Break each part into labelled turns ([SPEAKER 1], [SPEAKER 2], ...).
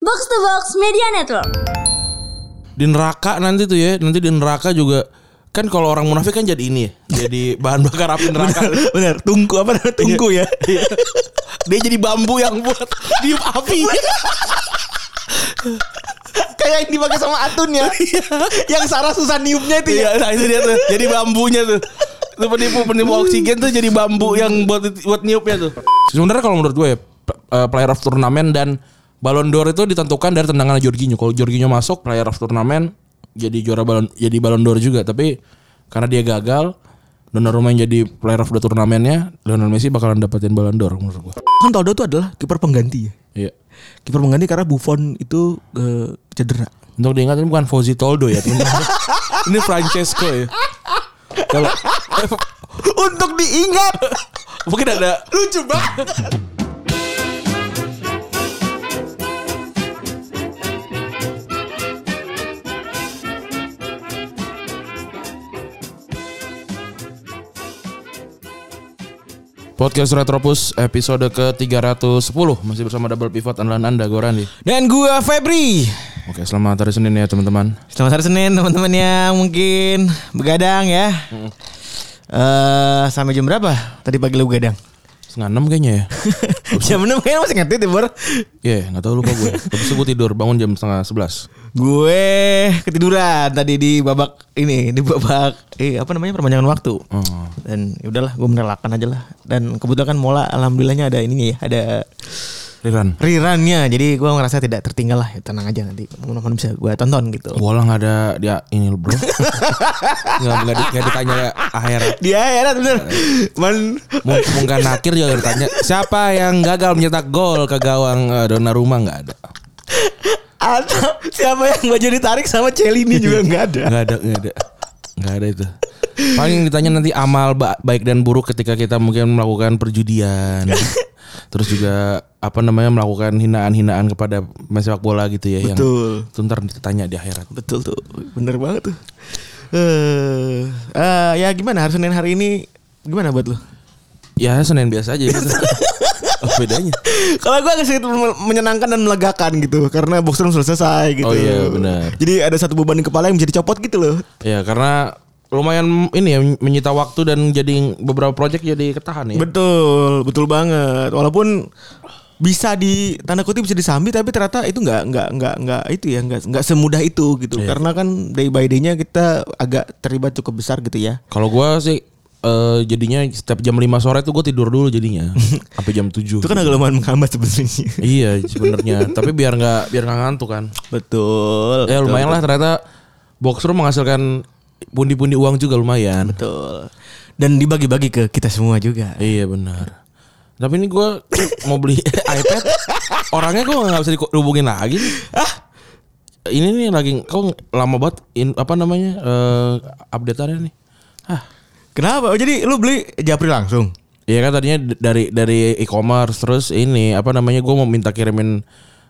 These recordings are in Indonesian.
[SPEAKER 1] Box to Box Media Network.
[SPEAKER 2] di neraka nanti tuh ya nanti di neraka juga kan kalau orang munafik kan jadi ini ya jadi bahan bakar api neraka
[SPEAKER 3] Benar, tungku apa namanya? Tungku ya.
[SPEAKER 2] Iya. dia jadi bambu yang buat di api
[SPEAKER 3] Kayak yang dipakai sama Atun ya. yang Sarah susah niupnya itu ya.
[SPEAKER 2] Iya, nah itu dia tuh jadi bambunya tuh itu penipu penipu oksigen tuh jadi bambu yang buat buat niupnya tuh sebenarnya kalau menurut gue ya p- eh, player of turnamen dan Ballon d'Or itu ditentukan dari tendangan Jorginho. Kalau Jorginho masuk player of turnamen jadi juara balon jadi Ballon d'Or juga, tapi karena dia gagal Donnarumma yang jadi player of the turnamennya Lionel Messi bakalan dapetin Ballon d'Or menurut gue.
[SPEAKER 3] Kan Toldo itu adalah kiper pengganti ya.
[SPEAKER 2] Iya.
[SPEAKER 3] Kiper pengganti karena Buffon itu eh, cedera.
[SPEAKER 2] Untuk diingat ini bukan Fauzi Toldo ya teman-teman. ini Francesco ya. Kalau
[SPEAKER 3] Untuk diingat.
[SPEAKER 2] mungkin ada
[SPEAKER 3] Lucu banget.
[SPEAKER 2] Podcast Retropus episode ke-310 Masih bersama Double Pivot andalan Anda, gue Randi
[SPEAKER 3] Dan gua Febri.
[SPEAKER 2] Oke selamat hari Senin ya teman-teman
[SPEAKER 3] Selamat hari Senin teman-teman yang mungkin begadang ya. Eh sampai jam berapa? Tadi pagi lu begadang.
[SPEAKER 2] Setengah enam kayaknya ya
[SPEAKER 3] jam 6 kayaknya masih ngetit ya, Bor.
[SPEAKER 2] Iya nggak tahu lupa gue Habis itu gue tidur bangun jam setengah sebelas
[SPEAKER 3] Gue ketiduran tadi di babak ini, di babak eh apa namanya? perpanjangan waktu.
[SPEAKER 2] Oh.
[SPEAKER 3] Dan ya udahlah, gue merelakan aja lah. Dan kebetulan kan Mola alhamdulillahnya ada ininya ya, ada
[SPEAKER 2] Riran
[SPEAKER 3] rerunnya. Jadi gue ngerasa tidak tertinggal lah. Ya, tenang aja nanti mudah-mudahan bisa gue tonton gitu.
[SPEAKER 2] Bola nggak ada dia ini loh, bro Nggak nggak di- nggak ditanya akhirat
[SPEAKER 3] Dia heran bener. Man,
[SPEAKER 2] Mung- Mungkin akhir juga ditanya Siapa yang gagal mencetak gol ke gawang eh, Donnarumma nggak ada
[SPEAKER 3] atau siapa yang baju ditarik sama Celini juga nggak ada.
[SPEAKER 2] Nggak ada, nggak ada, nggak ada itu. Paling ditanya nanti amal ba- baik dan buruk ketika kita mungkin melakukan perjudian, terus juga apa namanya melakukan hinaan-hinaan kepada pemain sepak bola gitu ya.
[SPEAKER 3] Betul.
[SPEAKER 2] Yang, itu ntar ditanya di akhirat.
[SPEAKER 3] Betul tuh, bener banget tuh. Eh, eh, ya gimana hari Senin hari ini gimana buat lu?
[SPEAKER 2] Ya senin biasa aja. Gitu. Apa bedanya?
[SPEAKER 3] Kalau gue agak sedikit men- menyenangkan dan melegakan gitu karena box room sudah selesai gitu.
[SPEAKER 2] Oh iya, benar.
[SPEAKER 3] Jadi ada satu beban di kepala yang bisa dicopot gitu loh.
[SPEAKER 2] Ya karena lumayan ini ya menyita waktu dan jadi beberapa project jadi ketahan ya.
[SPEAKER 3] Betul, betul banget. Walaupun bisa di tanda kutip bisa disambi tapi ternyata itu nggak nggak nggak nggak itu ya nggak nggak semudah itu gitu
[SPEAKER 2] Iya.
[SPEAKER 3] karena kan day by day-nya kita agak terlibat cukup besar gitu ya
[SPEAKER 2] Kalau gua sih eh, jadinya setiap jam 5 sore tuh gue tidur dulu jadinya sampai jam 7
[SPEAKER 3] itu kan agak lumayan menghambat sebenarnya
[SPEAKER 2] Iya sebenarnya, tapi biar nggak biar nggak ngantuk kan.
[SPEAKER 3] Betul.
[SPEAKER 2] Ya lumayan lah ternyata boxer menghasilkan pundi-pundi uang juga lumayan.
[SPEAKER 3] Betul. Dan dibagi-bagi ke kita semua juga.
[SPEAKER 2] Iya benar. Tapi ini gue mau beli iPad, orangnya gue nggak bisa dihubungin lagi.
[SPEAKER 3] Ah,
[SPEAKER 2] Ini nih lagi kau lama banget in, apa namanya eh updateannya nih. Ah,
[SPEAKER 3] kenapa? Oh, jadi lu beli Japri langsung.
[SPEAKER 2] Iya kan tadinya d- dari dari e-commerce terus ini apa namanya gue mau minta kirimin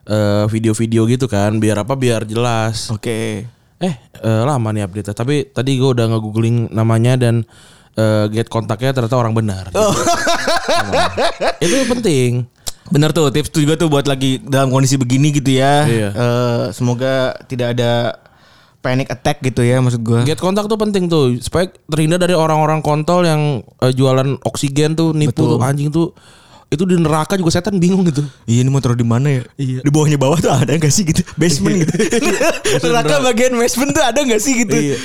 [SPEAKER 2] eh, video-video gitu kan biar apa biar jelas.
[SPEAKER 3] Oke.
[SPEAKER 2] Eh eh, lama nih update Tapi tadi gue udah nge-googling namanya dan eh, get kontaknya ternyata orang benar. Itu penting.
[SPEAKER 3] Bener tuh tips tuh juga tuh buat lagi dalam kondisi begini gitu ya.
[SPEAKER 2] Iya.
[SPEAKER 3] Eh, semoga tidak ada panic attack gitu ya maksud gua.
[SPEAKER 2] Get kontak tuh penting tuh supaya terhindar dari orang-orang kontol yang eh, jualan oksigen tuh nipu tuh anjing tuh itu di neraka juga setan bingung gitu.
[SPEAKER 3] Iya ini mau taruh di mana ya? Iya. Di bawahnya bawah tuh ada gak sih gitu? Basement gitu. Neraka bagian basement tuh ada gak sih gitu?
[SPEAKER 2] Iya.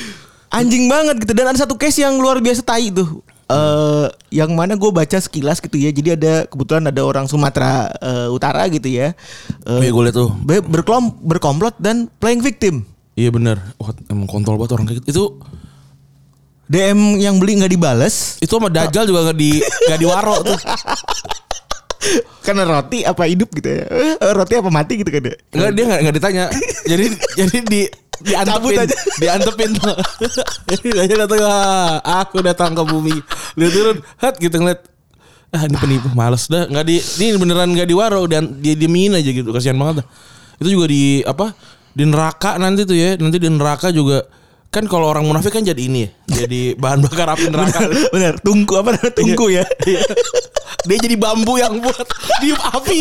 [SPEAKER 3] Anjing banget gitu. Dan ada satu case yang luar biasa tai tuh. Eh yang mana gue baca sekilas gitu ya. Jadi ada kebetulan ada orang Sumatera eh, Utara gitu ya.
[SPEAKER 2] Oh iya
[SPEAKER 3] Eh
[SPEAKER 2] gue liat tuh.
[SPEAKER 3] be- berkelom berkomplot dan playing victim.
[SPEAKER 2] Iya bener. Wah emang kontol banget orang kayak gitu. Itu
[SPEAKER 3] DM yang beli nggak dibales
[SPEAKER 2] itu sama Dajjal juga gak di gak diwaro tuh.
[SPEAKER 3] karena roti apa hidup gitu ya. Eh, roti apa mati gitu kan ya.
[SPEAKER 2] Enggak dia enggak enggak ditanya. Jadi jadi di diantepin
[SPEAKER 3] Cabut aja.
[SPEAKER 2] diantepin jadi aja datang "Ah, aku datang ke bumi dia turun hat gitu ngeliat ah ini penipu males dah nggak di ini beneran nggak diwaro dan dia diemin aja gitu kasihan banget dah itu juga di apa di neraka nanti tuh ya nanti di neraka juga kan kalau orang munafik kan jadi ini ya jadi bahan bakar api neraka
[SPEAKER 3] Bener, tungku apa namanya? Tungku ya.
[SPEAKER 2] Iya. dia jadi bambu yang buat di api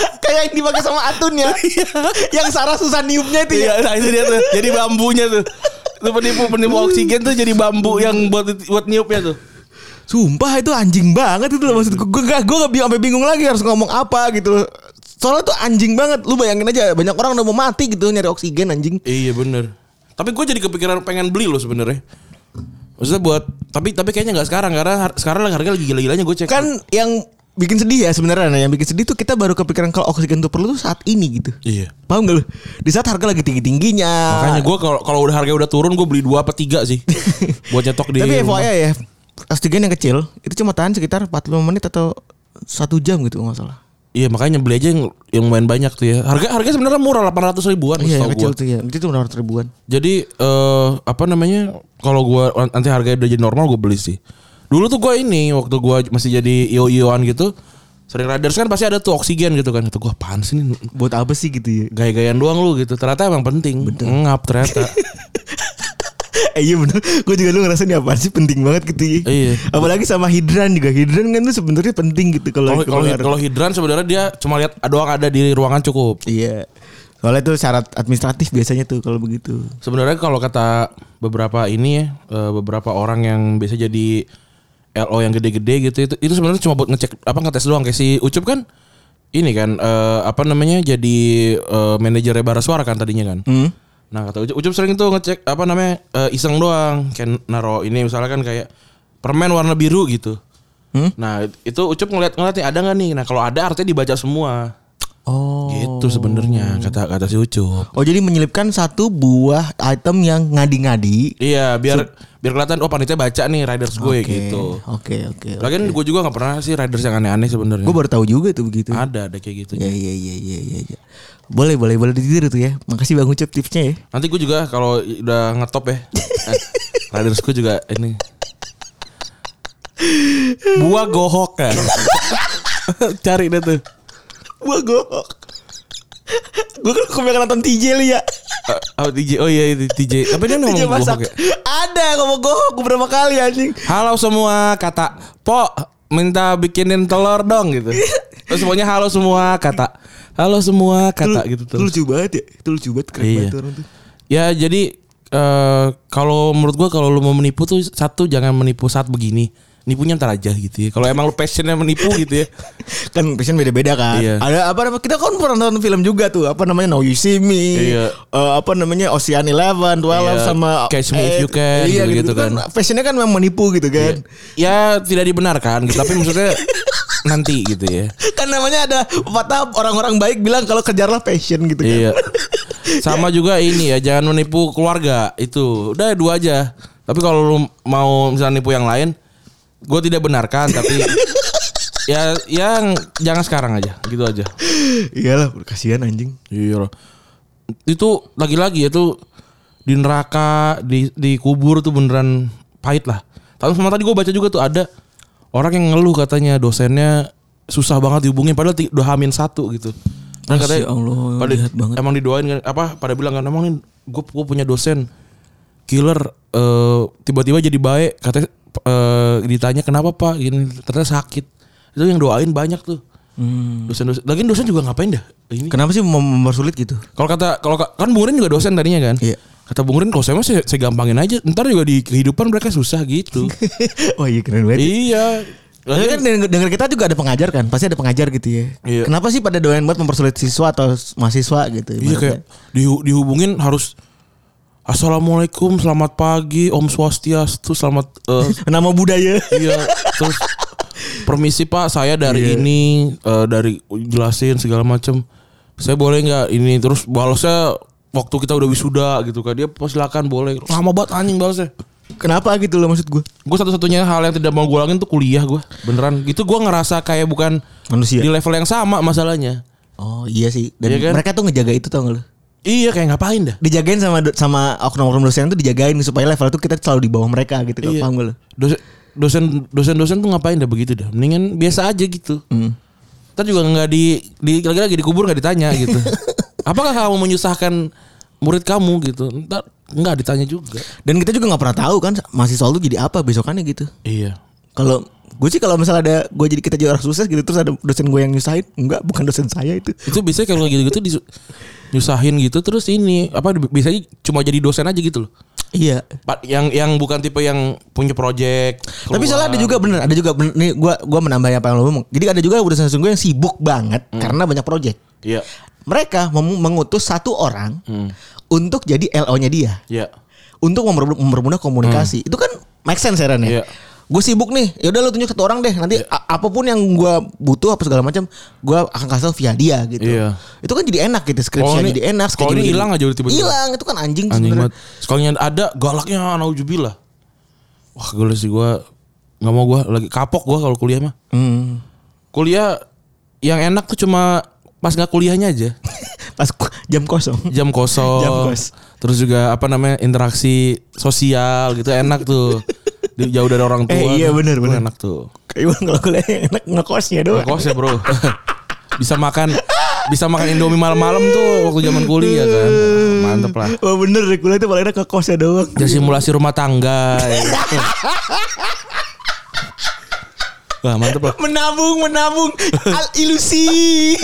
[SPEAKER 3] Kayak yang dipakai sama Atun ya. yang Sarah susah niupnya itu ya.
[SPEAKER 2] Iya, nah itu dia tuh. Jadi bambunya tuh. Itu penipu penipu oksigen tuh jadi bambu yang buat buat niupnya tuh.
[SPEAKER 3] Sumpah itu anjing banget itu loh
[SPEAKER 2] Iya,
[SPEAKER 3] maksud gue gue gak gue gak bingung sampai bingung lagi harus ngomong apa gitu loh. Soalnya tuh anjing banget lu bayangin aja banyak orang udah mau mati gitu nyari oksigen anjing.
[SPEAKER 2] Iya bener. Tapi gue jadi kepikiran pengen beli loh sebenarnya. Maksudnya buat tapi tapi kayaknya nggak sekarang karena har- sekarang harga lagi gila-gilanya gue cek.
[SPEAKER 3] Kan yang bikin sedih ya sebenarnya nah, yang bikin sedih tuh kita baru kepikiran kalau oksigen tuh perlu tuh saat ini gitu.
[SPEAKER 2] Iya.
[SPEAKER 3] Paham gak lu? Di saat harga lagi tinggi-tingginya.
[SPEAKER 2] Makanya gue kalau kalau udah harga udah turun gue beli dua apa tiga sih buat nyetok di.
[SPEAKER 3] Tapi
[SPEAKER 2] rumah.
[SPEAKER 3] FYI ya, oksigen yang kecil itu cuma tahan sekitar 45 menit atau satu jam gitu nggak salah.
[SPEAKER 2] Iya makanya beli aja yang yang lumayan banyak tuh ya. Harga harga sebenarnya murah 800 ribuan
[SPEAKER 3] Iya, yang
[SPEAKER 2] setahu
[SPEAKER 3] kecil
[SPEAKER 2] gua.
[SPEAKER 3] tuh ya. Itu cuma 600 ribuan.
[SPEAKER 2] Jadi eh apa namanya? Kalau gua nanti harganya udah jadi normal gua beli sih. Dulu tuh gua ini waktu gua masih jadi io-ioan gitu, sering riders kan pasti ada tuh oksigen gitu kan. Itu gua apaan sih ini
[SPEAKER 3] Buat apa sih gitu ya?
[SPEAKER 2] gaya-gayaan doang lu gitu. Ternyata emang penting. Ngap ternyata.
[SPEAKER 3] eh iya bener Gue juga lu ngerasa ini apaan sih penting banget gitu ya
[SPEAKER 2] Iya.
[SPEAKER 3] Apalagi sama hidran juga Hidran kan tuh sebenarnya penting gitu kalau
[SPEAKER 2] Kalau kalau
[SPEAKER 3] keluar.
[SPEAKER 2] kalau hidran sebenarnya dia cuma lihat doang ada di ruangan cukup.
[SPEAKER 3] Iya Soalnya itu syarat administratif biasanya tuh kalau begitu
[SPEAKER 2] Sebenarnya kalau kata beberapa ini ya, eh, beberapa orang yang biasa jadi LO yang gede-gede gitu itu itu sebenarnya cuma buat ngecek apa ngetes doang kayak si Ucup kan ini kan eh, apa namanya jadi eh, manajernya bara suara kan tadinya
[SPEAKER 3] Hmm.
[SPEAKER 2] kan. Nah, kata Ucup, Ucup sering tuh ngecek apa namanya eh, iseng doang kayak naro ini misalnya kan kayak permen warna biru gitu. Nah, itu Ucup ngeliat ngeliat nih ada nggak nih. Nah, kalau ada artinya dibaca semua.
[SPEAKER 3] Oh
[SPEAKER 2] Gitu sebenarnya kata kata si Ucup.
[SPEAKER 3] Oh jadi menyelipkan satu buah item yang ngadi-ngadi
[SPEAKER 2] Iya, biar biar kelihatan oh panitia baca nih riders gue
[SPEAKER 3] Oke,
[SPEAKER 2] gitu.
[SPEAKER 3] Oke oke
[SPEAKER 2] Lagian gue juga nggak pernah sih riders yang aneh-aneh sebenarnya.
[SPEAKER 3] Gue baru tahu juga tuh begitu
[SPEAKER 2] Ada ada kayak gitu.
[SPEAKER 3] Ya iya iya iya iya iya. Boleh boleh boleh ditiru tuh ya Makasih Bang Ucup tipsnya ya
[SPEAKER 2] Nanti gue juga kalau udah ngetop ya. eh, riders gue juga ini. Buah gohok kan. Cari deh tuh.
[SPEAKER 3] Gua gok Gue kan kebanyakan nonton TJ lu ya
[SPEAKER 2] Eh, Oh, TJ, oh iya itu TJ. Tapi dia
[SPEAKER 3] Dia
[SPEAKER 2] ngomong
[SPEAKER 3] masak.
[SPEAKER 2] gohok ya.
[SPEAKER 3] Ada yang ngomong gohok beberapa kali anjing.
[SPEAKER 2] Halo semua kata Po minta bikinin telur dong gitu.
[SPEAKER 3] Iya.
[SPEAKER 2] Terus semuanya halo semua kata. Halo semua kata gitu
[SPEAKER 3] Itu lucu banget ya. Itu lucu banget keren
[SPEAKER 2] Iya.
[SPEAKER 3] banget orang tuh.
[SPEAKER 2] Ya jadi eh kalau menurut gua kalau lu mau menipu tuh satu jangan menipu saat begini. Nipunya ntar aja gitu ya. Kalau emang lu passionnya menipu gitu ya.
[SPEAKER 3] Kan passion beda-beda kan.
[SPEAKER 2] Iya.
[SPEAKER 3] Ada apa namanya? Kita kan pernah nonton film juga tuh. Apa namanya? Now You See Me.
[SPEAKER 2] Iya.
[SPEAKER 3] Eh, apa namanya? Ocean Eleven, Twelve
[SPEAKER 2] Iya.
[SPEAKER 3] sama
[SPEAKER 2] Catch Me If You Can,
[SPEAKER 3] Iya
[SPEAKER 2] gitu-gitu
[SPEAKER 3] gitu, kan. Passionnya kan memang menipu gitu kan.
[SPEAKER 2] Ya tidak dibenarkan gitu tapi maksudnya nanti gitu ya.
[SPEAKER 3] Kan namanya ada patah orang-orang baik bilang kalau kejarlah passion gitu kan.
[SPEAKER 2] Iya. Sama juga ini ya jangan menipu keluarga itu. Udah dua aja. Tapi kalau lu mau misalnya nipu yang lain, gue tidak benarkan tapi ya yang jangan sekarang aja gitu aja.
[SPEAKER 3] Iyalah, Iya kasihan anjing.
[SPEAKER 2] Iya. loh. Itu lagi-lagi itu di neraka, di di kubur tuh beneran pahit lah. Tapi sama tadi gue baca juga tuh ada orang yang ngeluh katanya dosennya susah banget dihubungin padahal ti- udah hamin satu gitu. Dan
[SPEAKER 3] Masya Allah,
[SPEAKER 2] pada,
[SPEAKER 3] lihat banget.
[SPEAKER 2] Emang didoain kan apa pada bilang kan emang nih gue, punya dosen killer eh, tiba-tiba jadi baik katanya eh, ditanya kenapa pak gini ternyata sakit itu yang doain banyak tuh
[SPEAKER 3] Hmm.
[SPEAKER 2] dosen-dosen lagi dosen juga ngapain dah ini
[SPEAKER 3] Kenapa sih mem- mempersulit gitu?
[SPEAKER 2] kalau kata kalau ka- kan Bung Rin juga dosen tadinya kan?
[SPEAKER 3] Iya.
[SPEAKER 2] Kata Bung Rin kalau saya mah saya, saya gampangin aja. Ntar juga di kehidupan mereka susah gitu.
[SPEAKER 3] Wah, iya keren banget.
[SPEAKER 2] iya.
[SPEAKER 3] Tapi kan denger denger kita juga ada pengajar kan, pasti ada pengajar gitu ya.
[SPEAKER 2] Iya.
[SPEAKER 3] Kenapa sih pada doyan buat mempersulit siswa atau s- mahasiswa gitu?
[SPEAKER 2] Iya kayak dihu- dihubungin harus Assalamualaikum, selamat pagi, Om Swastiastu, selamat eh,
[SPEAKER 3] nama budaya.
[SPEAKER 2] iya terus permisi Pak, saya dari
[SPEAKER 3] Iya.
[SPEAKER 2] ini eh, dari jelasin segala macem Saya boleh nggak ini terus balasnya waktu kita udah wisuda gitu kan. Dia "Oh, silakan boleh. Lama banget anjing balasnya.
[SPEAKER 3] Kenapa gitu loh maksud gue?
[SPEAKER 2] gue satu-satunya hal yang tidak mau gue ulangin tuh kuliah gue beneran itu gue ngerasa kayak bukan
[SPEAKER 3] Manusia.
[SPEAKER 2] di level yang sama masalahnya
[SPEAKER 3] Oh iya sih.
[SPEAKER 2] Iya
[SPEAKER 3] Dan
[SPEAKER 2] kan?
[SPEAKER 3] mereka tuh ngejaga itu tau gak lo?
[SPEAKER 2] iya kayak ngapain dah
[SPEAKER 3] Dijagain sama do- sama oknum-oknum dosen tuh dijagain supaya level tuh kita selalu di bawah mereka gitu. Iya. Paham gak lo?
[SPEAKER 2] dosen dosen dosen dosen tuh ngapain dah begitu dah mendingan biasa aja gitu
[SPEAKER 3] Hmm.
[SPEAKER 2] ntar juga nggak di, di lagi-lagi dikubur nggak ditanya gitu apakah kamu menyusahkan murid kamu gitu ntar nggak ditanya juga
[SPEAKER 3] Dan kita juga nggak pernah tahu kan mahasiswa lu jadi apa besokannya gitu.
[SPEAKER 2] iya
[SPEAKER 3] Kalau Gue sih kalau misalnya ada gue jadi kita jadi orang sukses gitu terus ada dosen gue yang nyusahin, enggak bukan dosen saya itu.
[SPEAKER 2] itu biasanya kalau gitu-gitu disu- nyusahin gitu terus ini apa biasanya cuma jadi dosen aja gitu loh.
[SPEAKER 3] Iya.
[SPEAKER 2] Pa- Yang yang bukan tipe yang punya project.
[SPEAKER 3] Tapi soalnya ada juga bener, ada juga bener, nih gue gua menambahin apa yang lo ngomong. Jadi ada juga dosen dosen gue yang sibuk banget karena banyak proyek.
[SPEAKER 2] Iya.
[SPEAKER 3] Mereka mem- mengutus satu orang untuk jadi LO-nya dia.
[SPEAKER 2] Iya.
[SPEAKER 3] untuk memper- mempermudah komunikasi. Itu kan make sense Heran
[SPEAKER 2] Hmm. Iya.
[SPEAKER 3] ya. Gue sibuk nih, yaudah lu tunjuk satu orang deh. Nanti a- apapun yang gue butuh apa segala macam, gue akan kasih tau via dia gitu.
[SPEAKER 2] Iya.
[SPEAKER 3] Itu kan jadi enak gitu,
[SPEAKER 2] Kalau
[SPEAKER 3] skripsinya
[SPEAKER 2] ini-
[SPEAKER 3] jadi enak.
[SPEAKER 2] kalau ini
[SPEAKER 3] schedule jadi-
[SPEAKER 2] hilang aja udah tiba-tiba.
[SPEAKER 3] Hilang, itu kan anjing,
[SPEAKER 2] Anjing
[SPEAKER 3] sebenarnya.
[SPEAKER 2] banget. Sekalinya ada galaknya naujubillah. Wah, gue sih gua nggak mau gua lagi kapok gua kalau kuliah mah.
[SPEAKER 3] Hmm.
[SPEAKER 2] Kuliah yang enak tuh cuma pas nggak kuliahnya aja.
[SPEAKER 3] Pas ku- jam kosong.
[SPEAKER 2] Jam kosong.
[SPEAKER 3] Jam kos.
[SPEAKER 2] Terus juga apa namanya interaksi sosial gitu enak tuh. Di- Jauh dari orang tua.
[SPEAKER 3] Eh, iya,
[SPEAKER 2] tuh.
[SPEAKER 3] bener,
[SPEAKER 2] Tuh
[SPEAKER 3] bener.
[SPEAKER 2] Enak tuh.
[SPEAKER 3] Kayak Iwan kalau kuliah yang enak ngekosnya doang.
[SPEAKER 2] Ngekos ya bro Bisa makan Bisa makan indomie malam-malam tuh Waktu zaman kuliah kan Wah, Mantep lah
[SPEAKER 3] Wah Oh, bener deh, kuliah itu paling enak ngekosnya doang.
[SPEAKER 2] Ya simulasi rumah tangga ya. Wah mantep lah
[SPEAKER 3] Menabung, menabung, al ilusi.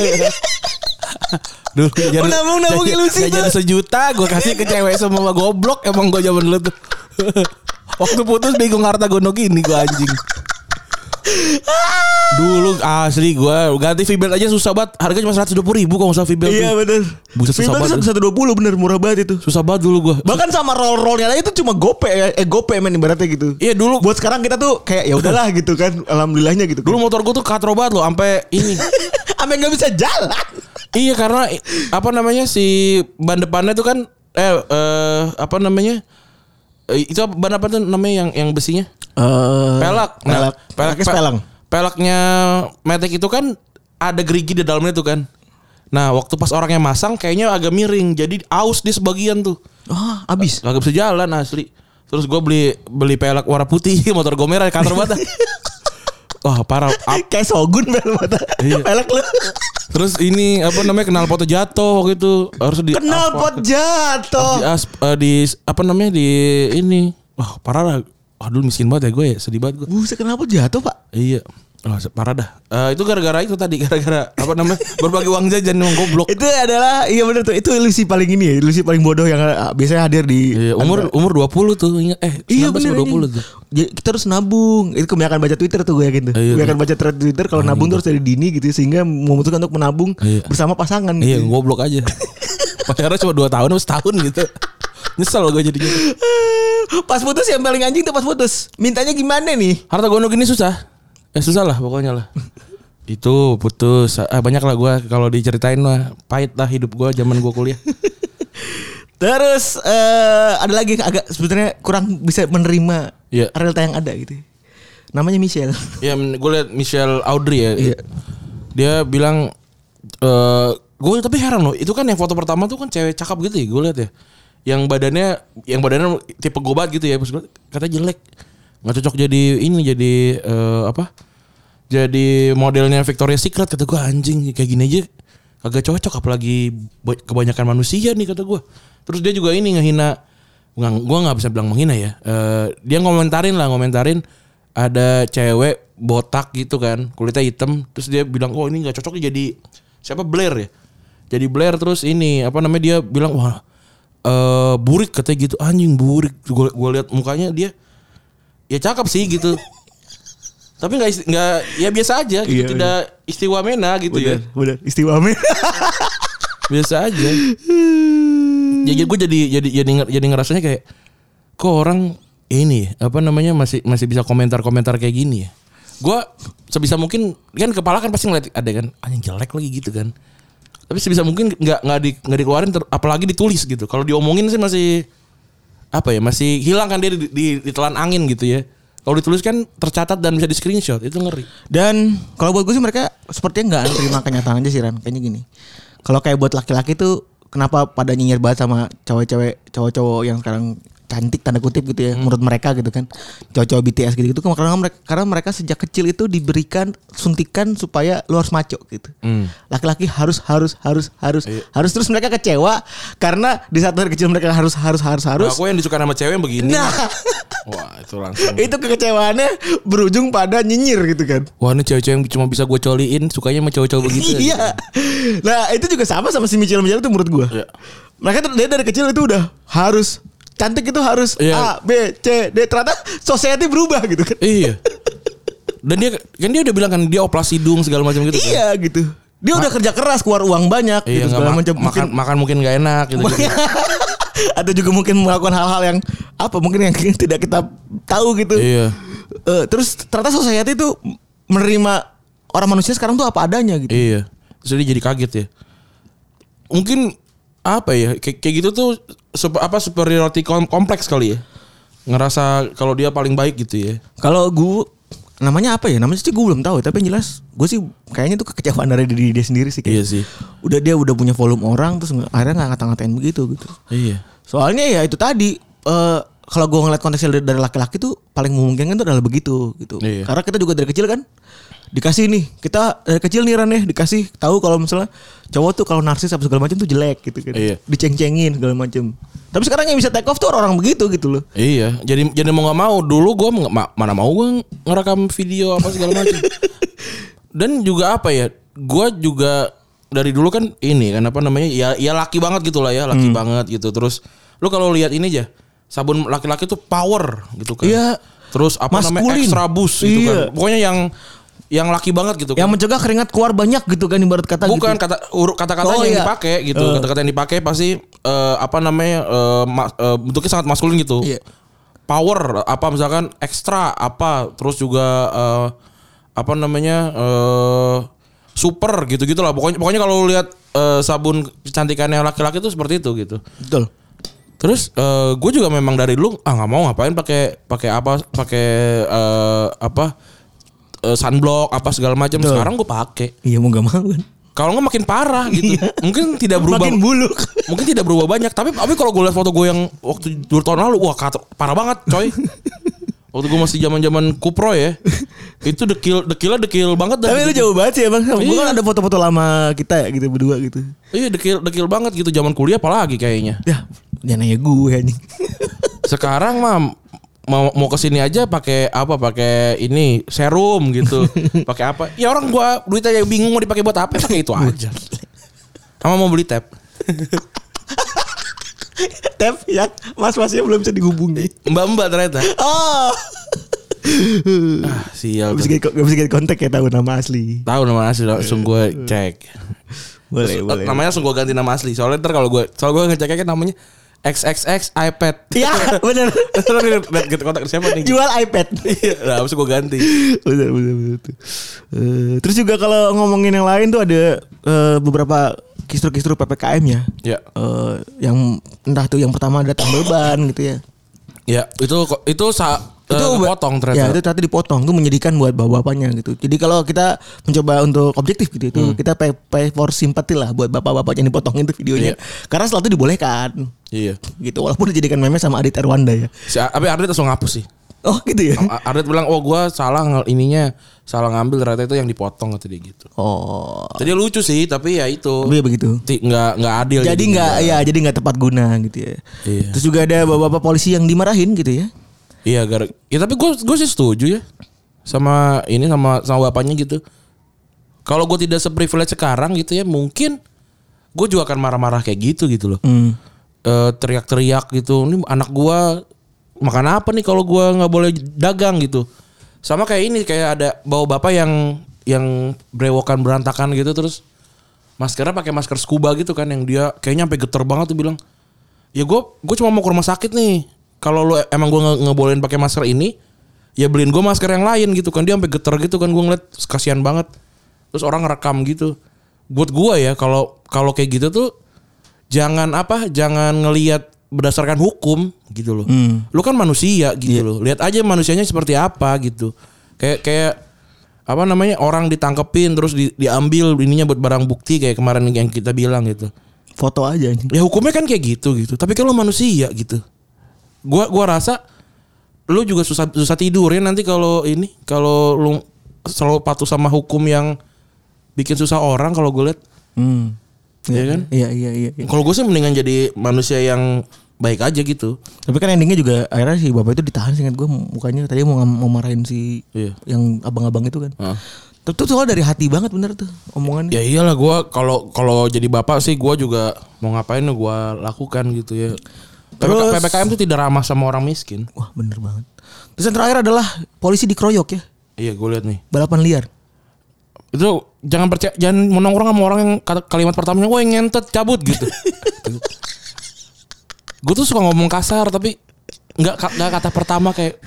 [SPEAKER 2] Dulu jadi-
[SPEAKER 3] Menabung- nabung
[SPEAKER 2] jadi-
[SPEAKER 3] ilusi
[SPEAKER 2] jadi sejuta Gue kasih ke cewek semua Goblok emang gue zaman dulu tuh Waktu putus bingung harta gono gini gue anjing Dulu asli gue Ganti Vibel aja susah banget Harganya cuma 120 ribu kalau nggak salah Vibel tuh.
[SPEAKER 3] iya bener.
[SPEAKER 2] Buset, susah
[SPEAKER 3] Filter
[SPEAKER 2] banget.
[SPEAKER 3] satu satu dua puluh bener murah banget itu.
[SPEAKER 2] Susah banget dulu gue
[SPEAKER 3] ya. Bahkan sama roll rollnya aja itu cuma gope ya. eh gope men ibaratnya gitu.
[SPEAKER 2] Iya dulu
[SPEAKER 3] Buat sekarang kita tuh kayak ya udahlah gitu kan, alhamdulillahnya gitu.
[SPEAKER 2] Dulu motor gue tuh katro banget loh sampai ini.
[SPEAKER 3] sampai nggak bisa jalan.
[SPEAKER 2] iya karena i- apa namanya si ban depannya tuh kan eh, eh, apa namanya? Eh, itu apa- ban apa tuh namanya yang yang besinya? Pelak.
[SPEAKER 3] Eh,
[SPEAKER 2] Nah, pelak,
[SPEAKER 3] pelak. Pelaknya
[SPEAKER 2] pe-
[SPEAKER 3] sepelang.
[SPEAKER 2] Pelaknya Matic itu kan ada gerigi di dalamnya tuh kan. Nah, waktu pas orangnya masang kayaknya agak miring. Jadi aus di sebagian tuh.
[SPEAKER 3] Ah, habis.
[SPEAKER 2] Kagak bisa jalan asli. Terus gue beli beli pelak warna putih motor gue merah katro banget. Wah, parah. Ap-
[SPEAKER 3] Kayak Sogun bel mata.
[SPEAKER 2] Iya.
[SPEAKER 3] Pelak lu.
[SPEAKER 2] Terus ini apa namanya kenal foto jatuh waktu itu harus di
[SPEAKER 3] Kenal pot
[SPEAKER 2] di,
[SPEAKER 3] jatuh.
[SPEAKER 2] as- eh, di apa namanya di ini wah parah lah wah dulu miskin banget ya gue ya sedih banget gue
[SPEAKER 3] Buset kenapa jatuh pak?
[SPEAKER 2] iya Wah, se- parah dah Eh, itu gara-gara itu tadi gara-gara apa namanya berbagi uang jajan yang goblok
[SPEAKER 3] Itu adalah iya bener tuh itu ilusi paling ini ya, ilusi paling bodoh yang ah, biasanya hadir di
[SPEAKER 2] Iya, umur umur 20 tuh ingat eh
[SPEAKER 3] Iya
[SPEAKER 2] 19
[SPEAKER 3] bener
[SPEAKER 2] sama 20 tuh
[SPEAKER 3] Jadi kita harus nabung. Itu kebanyakan baca Twitter tuh gue yakin tuh.
[SPEAKER 2] Iya,
[SPEAKER 3] kebanyakan baca thread Twitter kalau nabung terus dari dini gitu sehingga memutuskan untuk menabung
[SPEAKER 2] Iya.
[SPEAKER 3] bersama pasangan
[SPEAKER 2] iya
[SPEAKER 3] gitu.
[SPEAKER 2] goblok aja pacarnya cuma 2 tahun terus tahun gitu nyesel gue jadi gitu
[SPEAKER 3] Pas putus yang paling anjing tuh pas putus. Mintanya gimana nih?
[SPEAKER 2] harta gono gini susah ya susah lah pokoknya lah itu putus ah, banyak lah gue kalau diceritain mah pahit lah hidup gue zaman gue kuliah
[SPEAKER 3] Terus eh ada lagi yang agak sebenarnya kurang bisa menerima
[SPEAKER 2] Iya.
[SPEAKER 3] realita yang ada gitu. Namanya Michelle.
[SPEAKER 2] ya gue liat Michelle Audrey ya
[SPEAKER 3] Iya.
[SPEAKER 2] dia bilang eh gue tapi heran loh itu kan yang foto pertama tuh kan cewek cakep gitu ya gue liat ya yang badannya yang badannya tipe gobat gitu ya Terus gua, katanya jelek nggak cocok jadi ini jadi eh, apa jadi modelnya Victoria's Secret kata gue anjing kayak gini aja kagak cocok apalagi ba- kebanyakan manusia nih kata gue terus dia juga ini ngehina nggak gue nggak bisa bilang menghina ya Eh, dia ngomentarin lah ngomentarin ada cewek botak gitu kan kulitnya hitam terus dia bilang oh ini nggak cocok jadi siapa Blair ya jadi Blair terus ini apa namanya dia bilang wah eh burik katanya gitu anjing burik gue gue lihat mukanya dia ya cakep sih gitu tapi nggak isti- nggak ya biasa aja gitu
[SPEAKER 3] Iya,
[SPEAKER 2] tidak istiwamena gitu ya
[SPEAKER 3] Bener, istiwame.
[SPEAKER 2] biasa aja jadi gue jadi jadi jadi nger- jadi ngerasanya kayak kok orang ini apa namanya masih masih bisa komentar-komentar kayak gini ya gue sebisa mungkin kan kepala kan pasti ngeliat ada kan anjing jelek lagi gitu kan tapi sebisa mungkin nggak nggak di nggak dikeluarin ter- apalagi ditulis gitu kalau diomongin sih masih apa ya masih hilang kan dia di, di- ditelan angin gitu ya kalau ditulis kan tercatat dan bisa di screenshot itu ngeri
[SPEAKER 3] Dan kalau buat gue sih mereka sepertinya nggak terima kenyataan aja sih Ran. Kayaknya gini. Kalau kayak buat laki-laki tuh kenapa pada nyinyir banget sama cewek-cewek cowok-cowok yang sekarang cantik tanda kutip gitu ya menurut mereka gitu kan cowok-cowok BTS gitu gitu karena mereka karena mereka sejak kecil itu diberikan suntikan supaya lu harus maco gitu laki-laki harus harus harus harus harus terus mereka kecewa karena di saat dari kecil mereka harus harus harus
[SPEAKER 2] Nah,
[SPEAKER 3] harus
[SPEAKER 2] Aku yang disukain sama cewek yang begini.
[SPEAKER 3] nah
[SPEAKER 2] Wah itu langsung.
[SPEAKER 3] itu kekecewaannya berujung pada nyinyir gitu kan
[SPEAKER 2] Wah ini cewek-cewek yang cuma bisa gue coliin sukanya sama cowok-cowok begitu. ya?
[SPEAKER 3] iya. Nah itu juga sama sama si Michelle Michelle itu menurut gua
[SPEAKER 2] Iya.
[SPEAKER 3] Mereka tuh- dia dari kecil itu udah harus cantik itu harus
[SPEAKER 2] Iya.
[SPEAKER 3] A B C D ternyata society berubah gitu kan.
[SPEAKER 2] Iya. Dan dia kan dia udah bilang kan dia oplas hidung segala macam gitu. kan?
[SPEAKER 3] Iya gitu. Dia udah kerja keras keluar uang banyak
[SPEAKER 2] Iya nggak
[SPEAKER 3] gitu segala
[SPEAKER 2] ma-
[SPEAKER 3] macam.
[SPEAKER 2] makan
[SPEAKER 3] Mungkin-
[SPEAKER 2] makan mungkin nggak enak gitu.
[SPEAKER 3] Ada juga mungkin melakukan hal-hal yang apa mungkin yang tidak kita tahu gitu.
[SPEAKER 2] Iya.
[SPEAKER 3] Eh, terus ternyata society itu menerima orang manusia sekarang tuh apa adanya gitu.
[SPEAKER 2] Iya. Terus dia jadi kaget ya. Mungkin apa ya kayak, kayak gitu tuh sup- apa superiority kom- kompleks kali ya. Ngerasa kalau dia paling baik gitu ya.
[SPEAKER 3] Kalau gue namanya apa ya? Namanya sih gue belum tahu, tapi yang jelas gue sih kayaknya itu kekecewaan dari diri dia sendiri sih
[SPEAKER 2] Iya
[SPEAKER 3] kayak.
[SPEAKER 2] sih.
[SPEAKER 3] Udah dia udah punya volume orang terus nggak- akhirnya nggak ngata-ngatain begitu gitu.
[SPEAKER 2] Iya.
[SPEAKER 3] Soalnya ya itu tadi eh kalau gue ngeliat konteksnya dari, dari laki-laki tuh paling memungkinkan tuh adalah begitu gitu.
[SPEAKER 2] Iya.
[SPEAKER 3] Karena kita juga dari kecil kan dikasih nih kita dari kecil nih Ran ya dikasih tahu kalau misalnya cowok tuh kalau narsis apa segala macam tuh jelek gitu kan.
[SPEAKER 2] Iya.
[SPEAKER 3] Diceng-cengin segala macam. Tapi sekarang yang bisa take off tuh orang-orang begitu gitu loh.
[SPEAKER 2] Iya, jadi jadi mau nggak mau dulu gue mana mau gue ngerekam video apa segala macam. Dan juga apa ya, gue juga dari dulu kan ini kan apa namanya ya ya laki banget gitu lah ya laki
[SPEAKER 3] Hmm.
[SPEAKER 2] banget gitu. Terus lu kalau lihat ini aja sabun laki-laki tuh power gitu kan.
[SPEAKER 3] Iya.
[SPEAKER 2] Terus apa namanya
[SPEAKER 3] Maskulin.
[SPEAKER 2] extra boost gitu
[SPEAKER 3] Iya.
[SPEAKER 2] kan. Pokoknya yang yang laki banget gitu
[SPEAKER 3] Yang
[SPEAKER 2] kan.
[SPEAKER 3] mencegah keringat keluar banyak gitu kan ibarat kata gitu.
[SPEAKER 2] Bukan kata huruf kata-kata
[SPEAKER 3] Oh,
[SPEAKER 2] yang
[SPEAKER 3] iya.
[SPEAKER 2] dipakai gitu. Kata-kata yang dipakai pasti eh, apa namanya eh, ma- eh, bentuknya sangat maskulin gitu.
[SPEAKER 3] Iya.
[SPEAKER 2] power apa misalkan ekstra apa terus juga eh, apa namanya eh super gitu-gitu lah pokoknya pokoknya kalau lu lihat eh, sabun kecantikannya laki-laki itu seperti itu gitu.
[SPEAKER 3] Betul.
[SPEAKER 2] Terus gue juga memang dari dulu ah nggak mau ngapain pakai pakai apa pakai eh, apa eh, sunblock apa segala macam sekarang gue pakai.
[SPEAKER 3] Iya mau gak mau kan.
[SPEAKER 2] Kalau nggak makin parah gitu. Mungkin tidak berubah
[SPEAKER 3] Iya. Makin buluk.
[SPEAKER 2] mungkin tidak berubah banyak tapi tapi kalau gue lihat foto gue yang waktu dua tahun lalu wah kata, parah banget coy waktu gue masih zaman zaman kupro ya itu dekil dekilnya dekil banget dah
[SPEAKER 3] Tapi lu jauh banget sih emang. Gue
[SPEAKER 2] Iya.
[SPEAKER 3] kan ada foto-foto lama kita ya gitu berdua gitu.
[SPEAKER 2] iya dekil dekil banget gitu zaman kuliah apalagi kayaknya
[SPEAKER 3] Ya jangan nanya gue anjing.
[SPEAKER 2] sekarang mah mau mau kesini aja pakai apa pakai ini serum gitu pakai apa ya orang gua duit aja bingung mau dipakai buat apa pakai itu aja sama mau beli tab
[SPEAKER 3] Tep ya mas-masnya belum bisa dihubungi.
[SPEAKER 2] mbak mbak ternyata
[SPEAKER 3] Oh.
[SPEAKER 2] ah, sial
[SPEAKER 3] Gak bisa get, gak bisa get kontak ya tahu nama asli.
[SPEAKER 2] tahu nama asli langsung gue cek
[SPEAKER 3] Boleh
[SPEAKER 2] Eh,
[SPEAKER 3] boleh.
[SPEAKER 2] Namanya langsung gue ganti nama asli. Soalnya ntar kalau gue soal gue ngeceknya kan namanya XXX iPad.
[SPEAKER 3] Ya bener.
[SPEAKER 2] Terus liat gitu kontak siapa nih?
[SPEAKER 3] Jual iPad.
[SPEAKER 2] Nah, habis itu gue ganti.
[SPEAKER 3] bener bener bener. tuh. Eh, terus juga kalau ngomongin yang lain tuh ada eh, beberapa kisru-kisru ppkm ya.
[SPEAKER 2] Ya.
[SPEAKER 3] Eh, yang entah tuh yang pertama ada tambal ban gitu ya.
[SPEAKER 2] Ya, itu ko- itu sa
[SPEAKER 3] itu
[SPEAKER 2] eh,
[SPEAKER 3] ba-
[SPEAKER 2] potong
[SPEAKER 3] Ya,
[SPEAKER 2] ternyata.
[SPEAKER 3] itu ternyata dipotong. Itu menyedihkan buat bapak-bapaknya gitu. Jadi kalau kita mencoba untuk objektif gitu itu kita pay, pay for sympathy lah buat bapak-bapak yang dipotong itu videonya.
[SPEAKER 2] Iya.
[SPEAKER 3] Karena setelah itu dibolehkan
[SPEAKER 2] Iya.
[SPEAKER 3] gitu walaupun dijadikan meme sama Adit Erwanda ya.
[SPEAKER 2] Si A- tapi Ardit langsung ngapus sih.
[SPEAKER 3] Oh, gitu ya.
[SPEAKER 2] A- Ardit bilang, "Oh, gue salah nge- ininya, salah ngambil ternyata itu yang dipotong," kata dia gitu.
[SPEAKER 3] Oh.
[SPEAKER 2] Jadi lucu sih, tapi ya itu.
[SPEAKER 3] Tapi ya begitu.
[SPEAKER 2] Ti- nggak nggak adil
[SPEAKER 3] Jadi nggak ya jadi nggak tepat guna gitu ya.
[SPEAKER 2] Iya.
[SPEAKER 3] Terus juga ada bapak-bapak polisi yang dimarahin gitu ya.
[SPEAKER 2] Iya, gara Ya tapi gue gue sih setuju ya sama ini sama sama bapaknya gitu. Kalau gue tidak seprivilege sekarang gitu ya, mungkin gue juga akan marah-marah kayak gitu gitu loh.
[SPEAKER 3] Hmm.
[SPEAKER 2] Eh, teriak-teriak gitu. Ini anak gua makan apa nih kalau gua nggak boleh dagang gitu. Sama kayak ini kayak ada bawa bapak yang yang brewokan berantakan gitu terus maskernya pakai masker scuba gitu kan yang dia kayaknya sampai geter banget tuh bilang ya gua gua cuma mau ke rumah sakit nih kalau lu e-, emang gua nge- ngebolehin pakai masker ini ya beliin gua masker yang lain gitu kan dia sampai geter gitu kan gua ngeliat kasihan banget terus orang ngerekam gitu buat gua ya kalau kalau kayak gitu tuh jangan apa jangan ngelihat berdasarkan hukum gitu
[SPEAKER 3] Hmm.
[SPEAKER 2] loh lu kan manusia gitu loh lihat aja manusianya seperti apa gitu kayak kayak apa namanya orang ditangkepin terus di- diambil ininya buat barang bukti kayak kemarin yang kita bilang gitu
[SPEAKER 3] Foto aja anjing.
[SPEAKER 2] ya hukumnya kan kayak kan gitu gitu tapi kalau manusia gitu gua gua rasa lu juga susah susah tidur ya nanti kalau ini kalau lu selalu patuh sama hukum yang bikin susah orang kalau gue lihat
[SPEAKER 3] Hmm.
[SPEAKER 2] Iya kan?
[SPEAKER 3] Iya iya iya. iya.
[SPEAKER 2] kalau gue sih mendingan jadi manusia yang baik aja gitu
[SPEAKER 3] Tapi kan endingnya juga akhirnya si bapak itu ditahan sih ingat gue mukanya tadi mau mau marahin si
[SPEAKER 2] Iya.
[SPEAKER 3] yang abang-abang itu kan.
[SPEAKER 2] Heeh.
[SPEAKER 3] Tapi tuh soal dari hati banget bener tuh omongannya.
[SPEAKER 2] ya iyalah gua kalau kalau jadi bapak sih gua juga mau ngapain ya gua lakukan gitu ya
[SPEAKER 3] Terus-
[SPEAKER 2] PPK, PPKM tuh tidak ramah sama orang miskin
[SPEAKER 3] Wah bener banget. Terus yang terakhir adalah polisi dikeroyok ya
[SPEAKER 2] iya gue lihat nih
[SPEAKER 3] balapan liar.
[SPEAKER 2] itu jangan percaya jangan mau nongkrong sama orang yang kata, kalimat pertamanya woi ngentet cabut gitu gue tuh suka ngomong kasar tapi nggak ka- nggak kata pertama kayak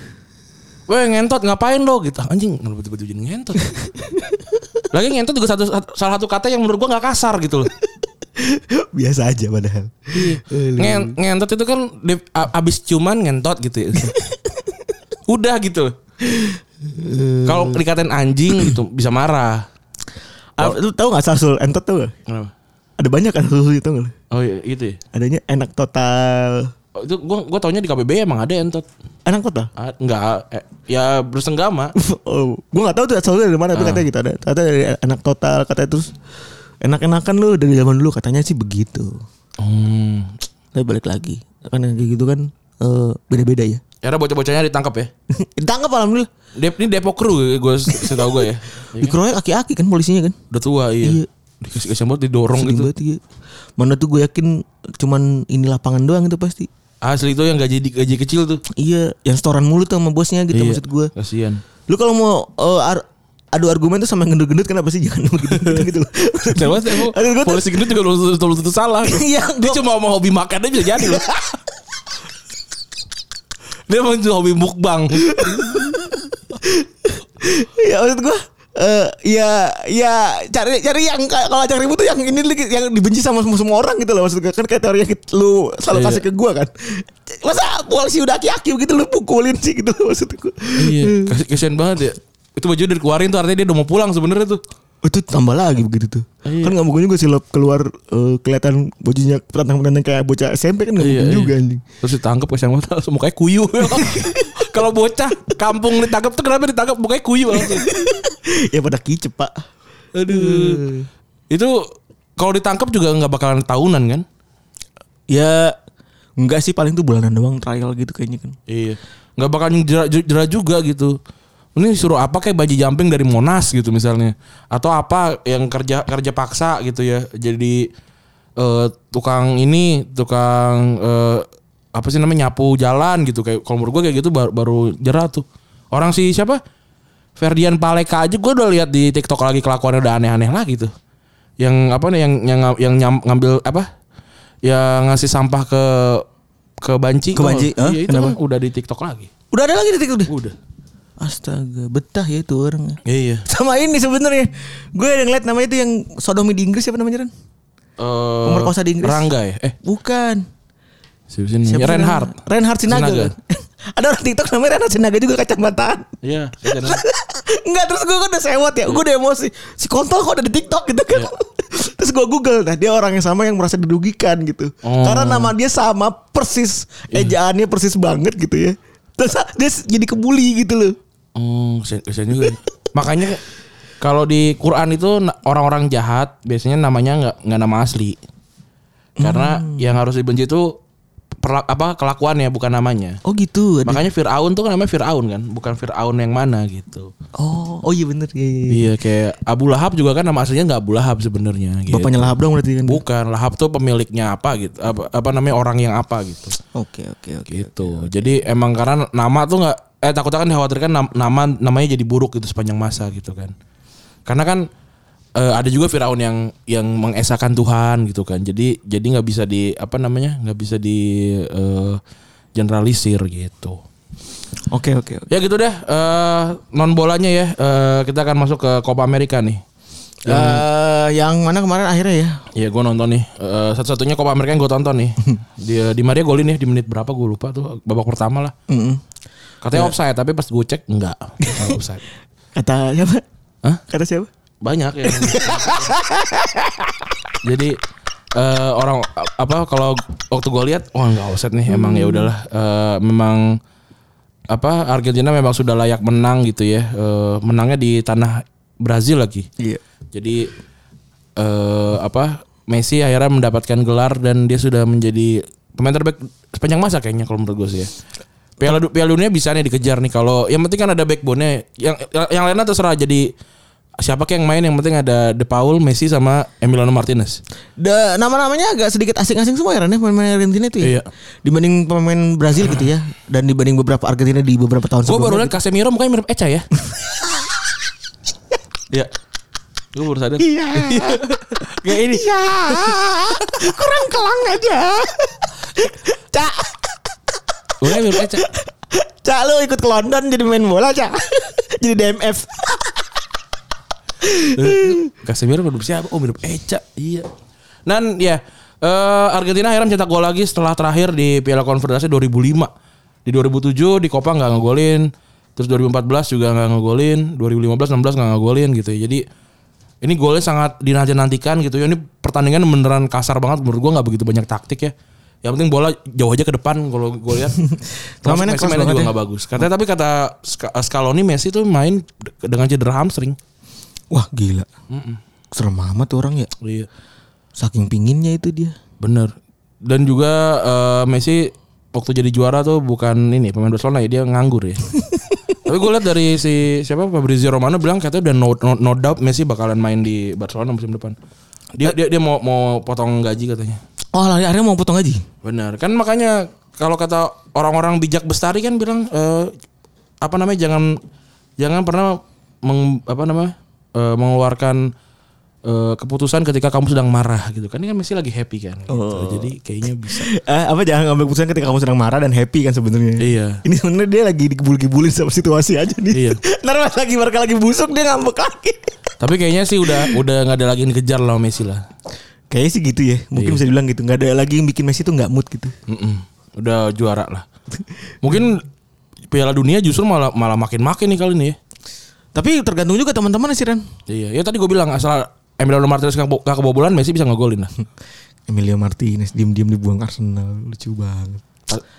[SPEAKER 2] woi ngentot ngapain lo gitu anjing kenapa tiba-tiba jadi ngentot lagi ngentot juga satu satu- salah satu kata yang menurut gue nggak kasar gitu loh
[SPEAKER 3] Biasa aja padahal.
[SPEAKER 2] Ngen- ngentot itu kan di- a- abis ciuman ngentot gitu ya. udah gitu loh. kalau dikatain anjing gitu bisa marah
[SPEAKER 3] Ah, lu tau gak sarsul entot tuh gak?
[SPEAKER 2] Kenapa?
[SPEAKER 3] Ada banyak kan sarsul itu gak?
[SPEAKER 2] oh iya gitu ya
[SPEAKER 3] Adanya enak total.
[SPEAKER 2] Oh, itu gua gua taunya di KBB emang ada entot.
[SPEAKER 3] Enak total?
[SPEAKER 2] Ah, enggak eh, ya bersenggama.
[SPEAKER 3] oh, gue gak tahu tuh asalnya dari mana tapi katanya gitu ada katanya dari enak total katanya terus enak-enakan lu dari zaman dulu katanya sih begitu
[SPEAKER 2] Hmm.
[SPEAKER 3] tapi balik lagi kan yang kayak gitu kan eh, beda-beda ya
[SPEAKER 2] Era bocah-bocahnya ditangkap ya.
[SPEAKER 3] ditangkap alhamdulillah
[SPEAKER 2] Dep ini Depok kru gue setahu gue ya.
[SPEAKER 3] dikeroyok aki-aki kan polisinya kan
[SPEAKER 2] Udah tua iya. Dikasih kasihan banget didorong
[SPEAKER 3] Sedih
[SPEAKER 2] gitu.
[SPEAKER 3] banget, iya. mana tuh gue yakin cuman ini lapangan doang itu pasti
[SPEAKER 2] Asli itu yang gaji gaji kecil tuh. Iya,
[SPEAKER 3] iya yang setoran mulu tuh sama bosnya gitu maksud gue
[SPEAKER 2] Kasihan.
[SPEAKER 3] lu kalau mau eh, ar- adu argumen tuh sama yang gendut-gendut kenapa sih jangan begitu gitu loh
[SPEAKER 2] Coba aku
[SPEAKER 3] Aduh, gua tuh-
[SPEAKER 2] polisi gendut juga belum tentu- belum tentu salah.
[SPEAKER 3] Iya,
[SPEAKER 2] Dia
[SPEAKER 3] gua-
[SPEAKER 2] cuma mau hobi makan aja bisa jadi loh. Dia emang cuma hobi mukbang.
[SPEAKER 3] ya maksud gua eh ya ya cari cari yang ka- kalau ajak ribut tuh yang ini lagi- yang dibenci sama semua, semua orang gitu loh maksud gua kan kayak teori yang kita- lu selalu
[SPEAKER 2] Iya.
[SPEAKER 3] kasih ke gua kan masa polisi udah aki-aki gitu lu pukulin sih gitu loh maksud gua Eh,
[SPEAKER 2] Iya, kasi- kasihan banget ya. Itu baju udah dikeluarin tuh artinya dia udah mau pulang sebenarnya tuh.
[SPEAKER 3] itu tambah lagi begitu tuh kan nggak mungkin juga sih lo keluar eh, kelihatan bajunya petantang-petantang kayak bocah SMP kan nggak
[SPEAKER 2] Iya,
[SPEAKER 3] mungkin
[SPEAKER 2] iya.
[SPEAKER 3] juga anjing
[SPEAKER 2] Terus ditangkap kasihan banget langsung mukanya kuyu. Kalau bocah kampung ditangkap tuh kenapa ditangkap mukanya kuyu langsung.
[SPEAKER 3] ya pada kicep pak
[SPEAKER 2] Aduh. Itu kalau ditangkap juga nggak bakalan tahunan kan?
[SPEAKER 3] ya enggak sih paling tuh bulanan doang trial gitu kayaknya kan
[SPEAKER 2] Iya. Nggak bakalan jera, jera juga gitu. Ini suruh apa kayak baji jumping dari Monas gitu misalnya. Atau apa yang kerja kerja paksa gitu ya. Jadi eh, tukang ini, tukang eh, apa sih namanya nyapu jalan gitu kayak kalau menurut gue kayak gitu baru, baru jera tuh. Orang si siapa? Ferdian Paleka aja gue udah lihat di TikTok lagi kelakuannya udah aneh-aneh lagi tuh. Yang apa nih yang yang yang nyam- ngambil apa? Yang ngasih sampah ke ke banci
[SPEAKER 3] Ke banci,
[SPEAKER 2] Iya,
[SPEAKER 3] hah?
[SPEAKER 2] itu
[SPEAKER 3] Kenapa?
[SPEAKER 2] kan udah di TikTok lagi.
[SPEAKER 3] udah ada lagi detik udah
[SPEAKER 2] Udah.
[SPEAKER 3] astaga betah ya itu orangnya
[SPEAKER 2] Iya.
[SPEAKER 3] sama ini sebenarnya gue ada ngeliat namanya itu yang sodomi di Inggris siapa namanya Ren?
[SPEAKER 2] Eh
[SPEAKER 3] Pemerkosa di Inggris.
[SPEAKER 2] Rangga ya? Eh,
[SPEAKER 3] Bukan.
[SPEAKER 2] siapa sih namanya?
[SPEAKER 3] Siapa sih
[SPEAKER 2] Reinhardt.
[SPEAKER 3] namanya? Reinhardt Sinaga.
[SPEAKER 2] Sinaga.
[SPEAKER 3] kan? ada orang TikTok namanya Reinhardt Sinaga juga kacamataan.
[SPEAKER 2] Iya. siapa namanya?
[SPEAKER 3] Enggak terus gue udah sewot ya, gue udah emosi. Si kontol kok ada di TikTok gitu kan.
[SPEAKER 2] Iya.
[SPEAKER 3] terus gue google, nah dia orang yang sama yang merasa dirugikan gitu.
[SPEAKER 2] Oh. Iya.
[SPEAKER 3] Karena nama dia sama persis, ejaannya persis banget gitu ya. Terus dia jadi kebuli gitu loh.
[SPEAKER 2] Oh, kesian, kesian juga. ya. Makanya kalau di Quran itu na- orang-orang jahat biasanya namanya nggak nggak nama asli. Karena yang harus dibenci itu perla- apa kelakuannya bukan namanya.
[SPEAKER 3] Oh gitu. ada-
[SPEAKER 2] Makanya Firaun tuh kan namanya Firaun kan, bukan Firaun yang mana gitu.
[SPEAKER 3] Oh, oh iya bener. Iya, iya, iya.
[SPEAKER 2] Iya, kayak Abu Lahab juga kan nama aslinya nggak Abu Lahab sebenarnya gitu.
[SPEAKER 3] Bapaknya lahap dong berarti kan.
[SPEAKER 2] Bukan Lahab tuh pemiliknya apa gitu. Apa, apa namanya orang yang apa gitu.
[SPEAKER 3] Oke, oke, oke.
[SPEAKER 2] Gitu. Jadi emang karena nama tuh nggak eh takutnya kan dikhawatirkan nam- nama namanya jadi buruk gitu sepanjang masa gitu kan. Karena kan eh, ada juga Firaun yang yang mengesahkan Tuhan gitu kan. Jadi jadi nggak bisa di apa namanya? nggak bisa di eh, generalisir gitu.
[SPEAKER 3] Oke, oke, oke.
[SPEAKER 2] Ya gitu deh eh, non bolanya ya. Eh, kita akan masuk ke Copa America nih.
[SPEAKER 3] Eh, yang mana kemarin akhirnya ya?
[SPEAKER 2] Iya gue nonton nih Eh, Satu-satunya Copa America yang gue tonton nih Di, di Maria golin ya Di menit berapa gue lupa tuh Babak pertama lah Katanya offside Tapi pas gue cek Enggak Enggak offside
[SPEAKER 3] Kata siapa?
[SPEAKER 2] Hah?
[SPEAKER 3] Kata siapa?
[SPEAKER 2] Banyak ya Jadi eh, orang apa kalau waktu gue lihat wah nggak offset nih emang ya udahlah Eh, memang apa Argentina memang sudah layak menang gitu ya Eh, menangnya di tanah Brazil lagi
[SPEAKER 3] Iya.
[SPEAKER 2] jadi eh apa Messi akhirnya mendapatkan gelar dan dia sudah menjadi pemain terbaik sepanjang masa kayaknya kalau menurut gue sih ya. Piala, du- Piala dunia bisa nih dikejar nih kalau yang penting kan ada backbone-nya. Yang yang lainnya terserah jadi siapa kayak yang main yang penting ada De Paul, Messi sama Emiliano Martinez.
[SPEAKER 3] Da- nama-namanya agak sedikit asing-asing semua ya Ren, ya, pemain-pemain Argentina itu ya.
[SPEAKER 2] Iya.
[SPEAKER 3] Dibanding pemain Brazil gitu ya dan dibanding beberapa Argentina di beberapa tahun
[SPEAKER 2] Gue baru lihat
[SPEAKER 3] sebelumnya.
[SPEAKER 2] Casemiro mukanya mirip Eca ya. Iya. Gue baru sadar.
[SPEAKER 3] Iya.
[SPEAKER 2] Kayak ini.
[SPEAKER 3] Iya. Kurang kelang aja. Cak.
[SPEAKER 2] Mukanya mirip Eca.
[SPEAKER 3] Cak lu ikut ke London jadi main bola, Cak. jadi DMF.
[SPEAKER 2] Casemiro mirip siapa? Oh mirip Eca. Iya. Dan ya eh, Argentina akhirnya mencetak gol lagi setelah terakhir di Piala Konfederasi 2005. Di 2007 di Copa nggak ngegolin. Terus 2014 juga nggak ngegolin. 2015 16 nggak ngegolin gitu. ya. Jadi ini golnya sangat dinanti-nantikan gitu ya. Ini pertandingan beneran kasar banget menurut gua nggak begitu banyak taktik ya. Yang penting bola jauh aja ke depan kalau gue lihat. Terus
[SPEAKER 3] Mainnya
[SPEAKER 2] Messi
[SPEAKER 3] keras
[SPEAKER 2] mainnya
[SPEAKER 3] banget
[SPEAKER 2] juga
[SPEAKER 3] ya.
[SPEAKER 2] nggak bagus. Katanya tapi kata Sc- Scaloni Messi tuh main de- dengan cedera hamstring.
[SPEAKER 3] Wah, gila. Serem amat tuh orang ya.
[SPEAKER 2] Iya.
[SPEAKER 3] Saking pinginnya itu dia.
[SPEAKER 2] Bener. Dan juga eh, Messi waktu jadi juara tuh bukan ini pemain Barcelona ya dia nganggur ya. Tapi gue lihat dari si siapa Fabrizio Romano bilang katanya udah no, no, no doubt Messi bakalan main di Barcelona musim depan. Dia dia, dia mau mau potong gaji katanya.
[SPEAKER 3] Oh, lah akhirnya mau potong gaji.
[SPEAKER 2] Bener. Kan makanya kalau kata orang-orang bijak bestari kan bilang eh, apa namanya jangan jangan pernah meng, apa namanya eh, mengeluarkan eh, keputusan ketika kamu sedang marah gitu kan ini kan Messi lagi happy kan gitu. jadi kayaknya bisa
[SPEAKER 3] Eh, apa jangan ngambil keputusan ketika kamu sedang marah dan happy kan sebenarnya.
[SPEAKER 2] Iya.
[SPEAKER 3] Ini sebenarnya dia lagi dikebul-kebulin sama situasi aja nih.
[SPEAKER 2] Iya.
[SPEAKER 3] Ntar pas lagi mereka lagi busuk dia ngambek lagi.
[SPEAKER 2] Tapi kayaknya sih udah udah nggak ada lagi yang dikejar lah sama Messi lah.
[SPEAKER 3] Kayaknya sih gitu ya. Mungkin bisa dibilang gitu. Gak ada lagi yang bikin Messi tuh nggak mood gitu.
[SPEAKER 2] Mm-mm. Udah juara lah. Mungkin Piala Dunia justru malah malah makin-makin nih kali ini ya.
[SPEAKER 3] Tapi tergantung juga teman-teman sih Ren.
[SPEAKER 2] Iya, ya tadi gue bilang asal Emiliano Martinez nggak bo- nggak kebobolan Messi bisa ngegolin lah.
[SPEAKER 3] Emilio Martinez diem-diem dibuang Arsenal lucu banget.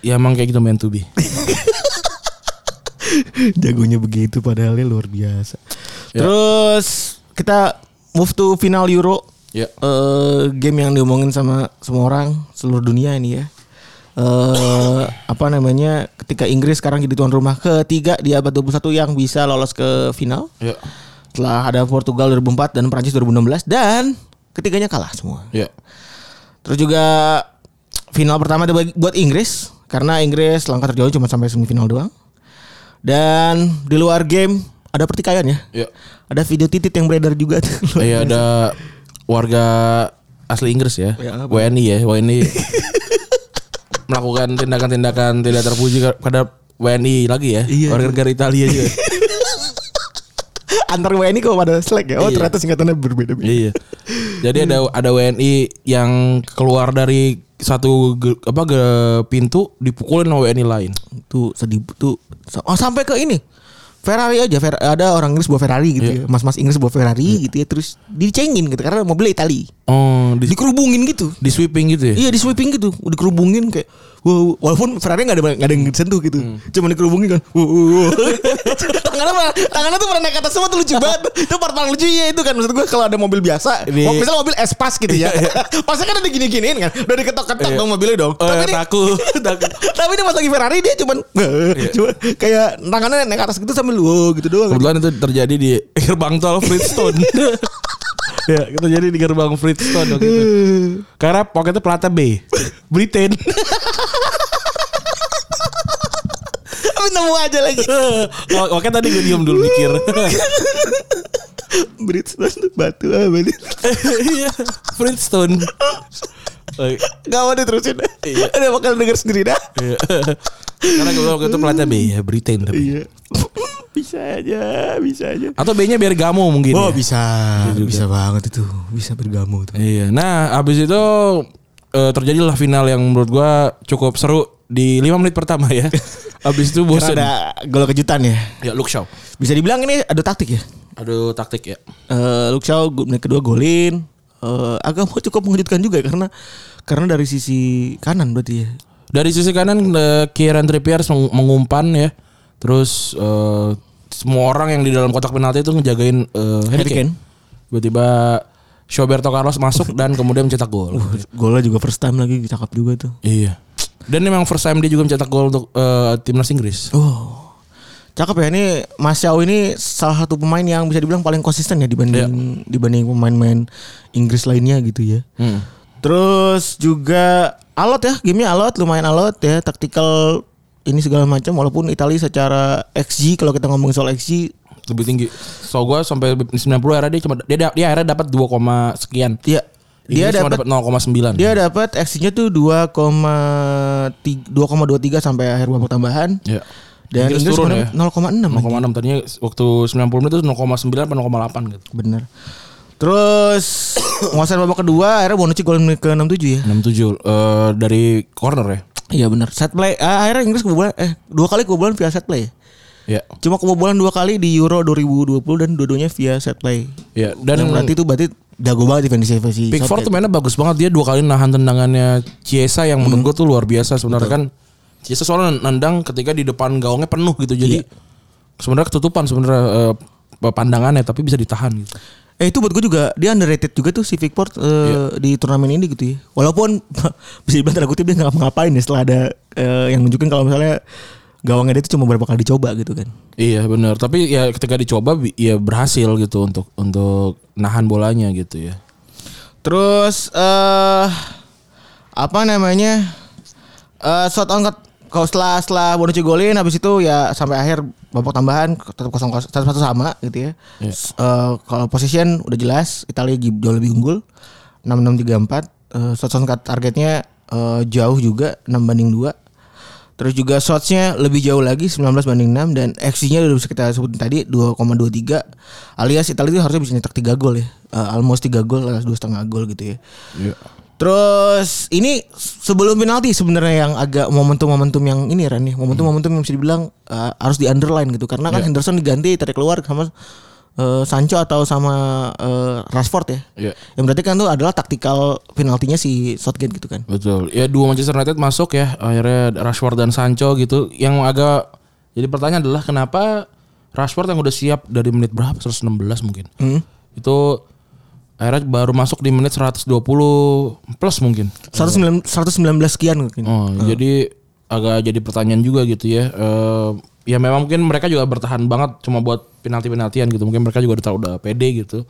[SPEAKER 2] ya emang kayak gitu main to be.
[SPEAKER 3] Jagonya begitu padahal dia luar biasa.
[SPEAKER 2] Ya.
[SPEAKER 3] Terus kita move to final Euro.
[SPEAKER 2] Ya.
[SPEAKER 3] Eh, game yang diomongin sama semua orang seluruh dunia ini ya. Eh apa namanya? Ketika Inggris sekarang jadi tuan rumah ketiga di abad 21 yang bisa lolos ke final.
[SPEAKER 2] Ya.
[SPEAKER 3] Telah ada Portugal 2004 dan Prancis 2016 dan ketiganya kalah semua.
[SPEAKER 2] Ya.
[SPEAKER 3] Terus juga final pertama ada bagi- buat Inggris karena Inggris langkah terjauh cuma sampai semifinal doang. Dan di luar game ada pertikaian ya.
[SPEAKER 2] Ya.
[SPEAKER 3] Ada video titit yang beredar juga tuh.
[SPEAKER 2] Ya ada warga asli Inggris ya.
[SPEAKER 3] Ya, apa?
[SPEAKER 2] WNI ya, WNI melakukan tindakan-tindakan tidak terpuji pada WNI lagi ya.
[SPEAKER 3] Iya.
[SPEAKER 2] warga negara Italia juga.
[SPEAKER 3] Antar WNI kok pada slack ya. Oh,
[SPEAKER 2] Iya.
[SPEAKER 3] ternyata singkatannya berbeda-beda.
[SPEAKER 2] Iya. Jadi ada ada WNI yang keluar dari satu ge- apa ge, pintu dipukulin sama WNI lain.
[SPEAKER 3] Tuh sedih tuh. Oh, sampai ke ini. Ferrari aja Fer- ada orang Inggris bawa Ferrari gitu ya. Mas-mas Inggris bawa Ferrari gitu ya terus dicengin gitu karena mobilnya Itali.
[SPEAKER 2] Oh, di,
[SPEAKER 3] Dikerubungin gitu.
[SPEAKER 2] di sweeping gitu ya.
[SPEAKER 3] Iya di sweeping gitu, dikerubungin kayak wow, wow. walaupun Ferrari nggak ada nggak ada yang disentuh gitu, cuma dikerubungin kan. Wow, wow, wow. tangannya malah- tangannya tuh pernah naik atas semua tuh lucu banget. itu part paling lucu ya itu kan maksud gue kalau ada mobil biasa,
[SPEAKER 2] Di-
[SPEAKER 3] mobil misalnya mobil Espas gitu ya. Pasti kan ada gini-giniin kan, udah diketok-ketok dong mobilnya dong.
[SPEAKER 2] Oh,
[SPEAKER 3] tapi,
[SPEAKER 2] ya,
[SPEAKER 3] ini,
[SPEAKER 2] takut, takut.
[SPEAKER 3] tapi ini pas lagi Ferrari dia cuman cuma kayak tangannya naik atas gitu sambil wow gitu doang.
[SPEAKER 2] Kebetulan itu terjadi di gerbang tol Freestone. ya, itu jadi di gerbang Freestone waktu itu. Karena pokoknya itu pelata B. Britain.
[SPEAKER 3] Tapi nemu aja lagi.
[SPEAKER 2] Oh, Oke tadi gue diem dulu mikir.
[SPEAKER 3] Bridgestone tuh batu ah,
[SPEAKER 2] Iya, Freestone. Oh,
[SPEAKER 3] Gak mau diterusin. Ada bakal denger sendiri dah.
[SPEAKER 2] iya. Karena kebetulan waktu itu pelata B ya, Britain tapi.
[SPEAKER 3] Iya. bisa aja, bisa aja.
[SPEAKER 2] Atau B-nya biar gamo mungkin.
[SPEAKER 3] Oh
[SPEAKER 2] ya.
[SPEAKER 3] bisa, bisa banget itu, bisa bergamu tuh.
[SPEAKER 2] Iya. Nah, abis itu eh, terjadilah final yang menurut gua cukup seru di 5 menit pertama ya. abis itu bosen.
[SPEAKER 3] Ada gol kejutan ya.
[SPEAKER 2] Ya, look show.
[SPEAKER 3] Bisa dibilang ini ada taktik ya.
[SPEAKER 2] Aduh, taktik ya.
[SPEAKER 3] Eh Luke Shaw gu- menit kedua golin. eh, agak cukup mengejutkan juga karena karena dari sisi kanan berarti ya.
[SPEAKER 2] Dari sisi kanan eh, Kieran Trippier meng- mengumpan ya. Terus eh, semua orang yang di dalam kotak penalti itu ngejagain eh, Harry
[SPEAKER 3] Harry
[SPEAKER 2] Kane.
[SPEAKER 3] Kane.
[SPEAKER 2] Tiba-tiba Roberto Carlos masuk dan kemudian mencetak gol.
[SPEAKER 3] Uh. Golnya juga first time lagi cakep juga tuh.
[SPEAKER 2] Iya. Dan memang first time dia juga mencetak gol untuk eh, timnas Inggris.
[SPEAKER 3] Oh. Cakep ya ini Mas Yao ini salah satu pemain yang bisa dibilang paling konsisten ya dibanding dibanding pemain-pemain Inggris lainnya gitu ya.
[SPEAKER 2] Hmm.
[SPEAKER 3] Terus juga alot ya, gamenya alot, lumayan alot ya, taktikal ini segala macam walaupun Italia secara XG kalau kita ngomongin soal XG
[SPEAKER 2] Lebih tinggi. So gue sampai 90 akhirnya dia cuma dia, da- dia akhirnya dapat 2, koma sekian.
[SPEAKER 3] dia ya, dia
[SPEAKER 2] Inggris cuma
[SPEAKER 3] dapat
[SPEAKER 2] dapat 0,9.
[SPEAKER 3] dia dapat XG-nya tuh 2,3 2,23 sampai akhir babak tambahan.
[SPEAKER 2] Iya.
[SPEAKER 3] Dan
[SPEAKER 2] Inggris
[SPEAKER 3] Inggris,
[SPEAKER 2] turun
[SPEAKER 3] kemarin
[SPEAKER 2] ya. 0,6
[SPEAKER 3] 0,6.
[SPEAKER 2] tadinya waktu 90 menit itu 0,9 atau 0,8 gitu.
[SPEAKER 3] Bener. Terus nguasain babak kedua akhirnya Bonucci golin menit ke 67 ya.
[SPEAKER 2] 67 eh, dari corner ya.
[SPEAKER 3] Iya bener. Set play ah, akhirnya Inggris kebobolan eh dua kali kebobolan via set play.
[SPEAKER 2] Ya.
[SPEAKER 3] Cuma kebobolan dua kali di Euro 2020 dan dua-duanya via set play.
[SPEAKER 2] Ya,
[SPEAKER 3] Dan
[SPEAKER 2] dan
[SPEAKER 3] berarti itu berarti jago banget defensi versi.
[SPEAKER 2] Pickford tuh mainnya bagus banget dia dua kali nahan tendangannya Chiesa yang menurut gua tuh luar biasa sebenarnya kan. Chiesa soalnya nendang ketika di depan gaungnya penuh gitu. Jadi sebenarnya ketutupan sebenarnya eh, pandangannya tapi bisa ditahan gitu.
[SPEAKER 3] Eh itu buat gue juga dia underrated juga tuh si Pickford eh, di turnamen ini gitu ya. Walaupun bisa dibilang tanda kutip dia nggak ngapain ya setelah ada eh, yang nunjukin kalau misalnya gawangnya dia itu cuma berapa kali dicoba gitu kan.
[SPEAKER 2] Iya benar, tapi ya ketika dicoba bi- ya berhasil gitu untuk untuk nahan bolanya gitu ya.
[SPEAKER 3] Terus eh apa namanya? Eh shot on goal. Kalau setelah setelah Bonucci golin habis itu ya sampai akhir babak tambahan tetap kosong kosong satu satu sama gitu ya. S- eh, kalau position udah jelas Italia gi- jauh lebih unggul 6-6-3-4 Eh, shot on goal targetnya eh, jauh juga 6 banding 2 Terus juga shotsnya lebih jauh lagi 19 banding 6 dan XG-nya udah bisa kita sebutin tadi 2,23 alias Italia itu harusnya bisa nyetak 3 gol ya. Eh, almost 3 gol alias 2,5 gol gitu ya.
[SPEAKER 2] Iya.
[SPEAKER 3] Terus ini sebelum penalti sebenarnya yang agak momentum-momentum yang ini Ran ya. Momentum-momentum yang bisa dibilang eh, harus di underline gitu karena kan Henderson diganti tarik keluar sama eh, Sancho atau sama eh, Rashford ya.
[SPEAKER 2] Iya.
[SPEAKER 3] Yang berarti kan itu adalah taktikal penaltinya si Southgate gitu kan.
[SPEAKER 2] Betul. Ya dua Manchester United masuk ya. Akhirnya Rashford dan Sancho gitu. Yang agak jadi pertanyaan adalah kenapa Rashford yang udah siap dari menit berapa? 116 mungkin.
[SPEAKER 3] Hmm.
[SPEAKER 2] Itu akhirnya baru masuk di menit 120 plus mungkin.
[SPEAKER 3] 119 119 sekian mungkin.
[SPEAKER 2] Oh, jadi agak jadi pertanyaan juga gitu ya. Eh, ya memang mungkin mereka juga bertahan banget cuma buat penalti-penaltian gitu. Mungkin mereka juga udah tahu udah pede gitu.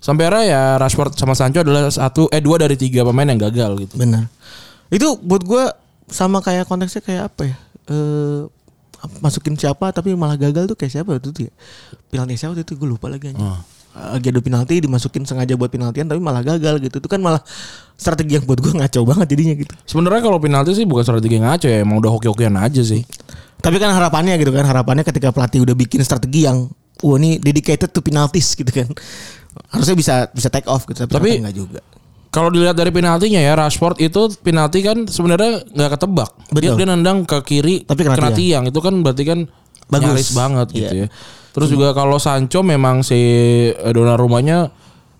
[SPEAKER 2] Sampai akhirnya ya Rashford sama Sancho adalah satu eh dua dari tiga pemain yang gagal gitu.
[SPEAKER 3] Benar. Itu buat gue sama kayak konteksnya kayak apa ya? Eh masukin siapa tapi malah gagal tuh kayak siapa waktu itu ya? Penalti siapa waktu itu gue lupa lagi anjing. Eh, Lagi adu penalti dimasukin sengaja buat penaltian tapi malah gagal gitu. Itu kan malah strategi yang buat gue ngaco banget jadinya gitu.
[SPEAKER 2] Sebenarnya kalau penalti sih bukan strategi ngaco ya, emang udah hoki-hokian aja sih.
[SPEAKER 3] Tapi kan harapannya gitu kan, harapannya ketika pelatih udah bikin strategi yang wah ini dedicated to penalties gitu kan. Harusnya bisa bisa take off gitu tapi,
[SPEAKER 2] Tapi-
[SPEAKER 3] ternyata enggak juga.
[SPEAKER 2] Kalau dilihat dari penaltinya ya, Rashford itu penalti kan sebenarnya nggak ketebak. Dia,
[SPEAKER 3] Betul.
[SPEAKER 2] dia nendang ke kiri,
[SPEAKER 3] Tapi kena
[SPEAKER 2] kena tiang. Itu kan berarti kan
[SPEAKER 3] Bagus. Iya.
[SPEAKER 2] nyaris banget gitu ya. Terus juga kalau Sancho memang si eh, donor rumahnya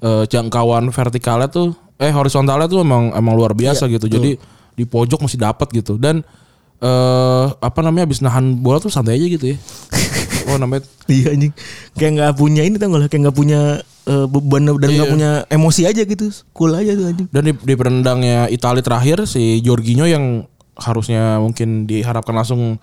[SPEAKER 2] eh, jangkauan vertikalnya tuh eh horizontalnya tuh emang emang luar biasa
[SPEAKER 3] Iya,
[SPEAKER 2] gitu. Jadi di pojok masih dapat gitu dan eh apa namanya habis nahan bola tuh santai aja gitu ya. oh namanya
[SPEAKER 3] Iya anjing. Kayak nggak punya ini tau nggak lah, kayak nggak punya eh, beban dan nggak
[SPEAKER 2] Iya.
[SPEAKER 3] punya emosi aja gitu. Cool aja tuh anjing.
[SPEAKER 2] Dan di, di penendangnya Itali terakhir si Jorginho yang harusnya mungkin diharapkan langsung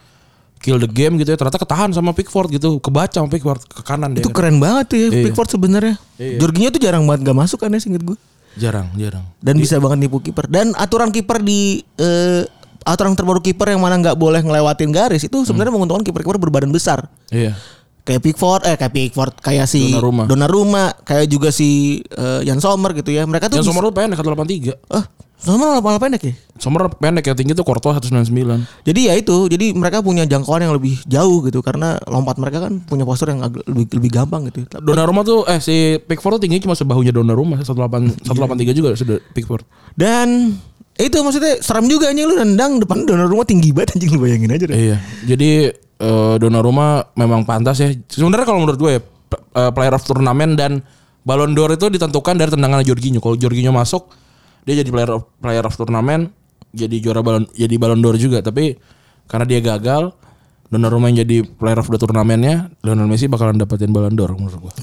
[SPEAKER 2] kill the game gitu ya ternyata ketahan sama Pickford gitu kebaca sama Pickford ke kanan dia
[SPEAKER 3] Itu
[SPEAKER 2] kan. Iya.
[SPEAKER 3] keren banget tuh ya Pickford sebenarnya. Jorginho tuh jarang banget nggak masuk kan ya singkat gue.
[SPEAKER 2] jarang jarang
[SPEAKER 3] Dan bisa banget nipu kiper. Dan aturan kiper di eh, aturan terbaru kiper yang mana nggak boleh ngelewatin garis
[SPEAKER 2] Hmm.
[SPEAKER 3] itu sebenarnya menguntungkan kiper-kiper berbadan besar.
[SPEAKER 2] iya
[SPEAKER 3] Kayak Pickford, eh kayak Pickford, kayak si
[SPEAKER 2] Donnarumma.
[SPEAKER 3] Donnarumma, kayak juga si eh, Jan Sommer gitu ya. Mereka tuh
[SPEAKER 2] yang
[SPEAKER 3] bisa-
[SPEAKER 2] Sommer tuh pendek 183
[SPEAKER 3] Eh, Sommer malah pendek ya?
[SPEAKER 2] Sommer pendek yang tinggi tuh Courtois 199
[SPEAKER 3] Jadi ya itu, jadi mereka punya jangkauan yang lebih jauh gitu karena lompat mereka kan punya postur yang agak lebih lebih gampang gitu.
[SPEAKER 2] Donnarumma tuh eh si Pickford tuh tinggi cuma sebahunya Donnarumma 18 183 juga sudah Pickford
[SPEAKER 3] Dan itu maksudnya serem juga anjing lu nendang depan donor rumah tinggi banget anjing lu bayangin aja deh.
[SPEAKER 2] Iya. Jadi eh Donnarumma memang pantas ya. Sebenarnya kalau menurut gue ya, p- eh, player of turnamen dan Ballon d'Or itu ditentukan dari tendangan Jorginho. Kalau Jorginho masuk, dia jadi player of, player of turnamen, jadi juara balon jadi Ballon d'Or juga, tapi karena dia gagal Donnarumma yang jadi player of the turnamennya Lionel Messi bakalan dapetin Ballon d'Or menurut gua.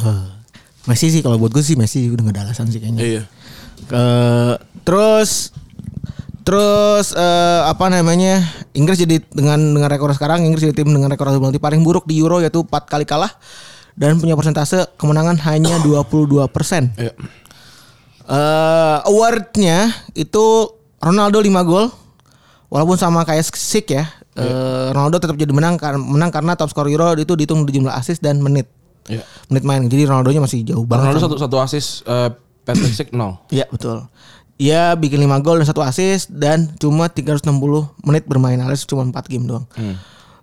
[SPEAKER 3] Messi sih kalau buat gue sih Messi udah gak ada alasan sih kayaknya.
[SPEAKER 2] Iya.
[SPEAKER 3] Ke- terus terus eh, apa namanya Inggris jadi dengan dengan rekor sekarang Inggris jadi tim dengan rekor adu penalti paling buruk di Euro yaitu 4 kali kalah dan punya persentase kemenangan hanya 22 persen.
[SPEAKER 2] Iya.
[SPEAKER 3] Eh, awardnya itu Ronaldo 5 gol walaupun sama kayak Sik ya
[SPEAKER 2] Iya.
[SPEAKER 3] eh, Ronaldo tetap jadi menang kar- menang karena top skor Euro itu dihitung di jumlah assist dan menit
[SPEAKER 2] Iya.
[SPEAKER 3] menit main jadi Ronaldonya masih jauh banget
[SPEAKER 2] Ronaldo satu satu asis eh, Patrick Schick nol.
[SPEAKER 3] Iya betul. Ia bikin 5 gol dan satu assist dan cuma 360 menit bermain alias cuma 4 game doang.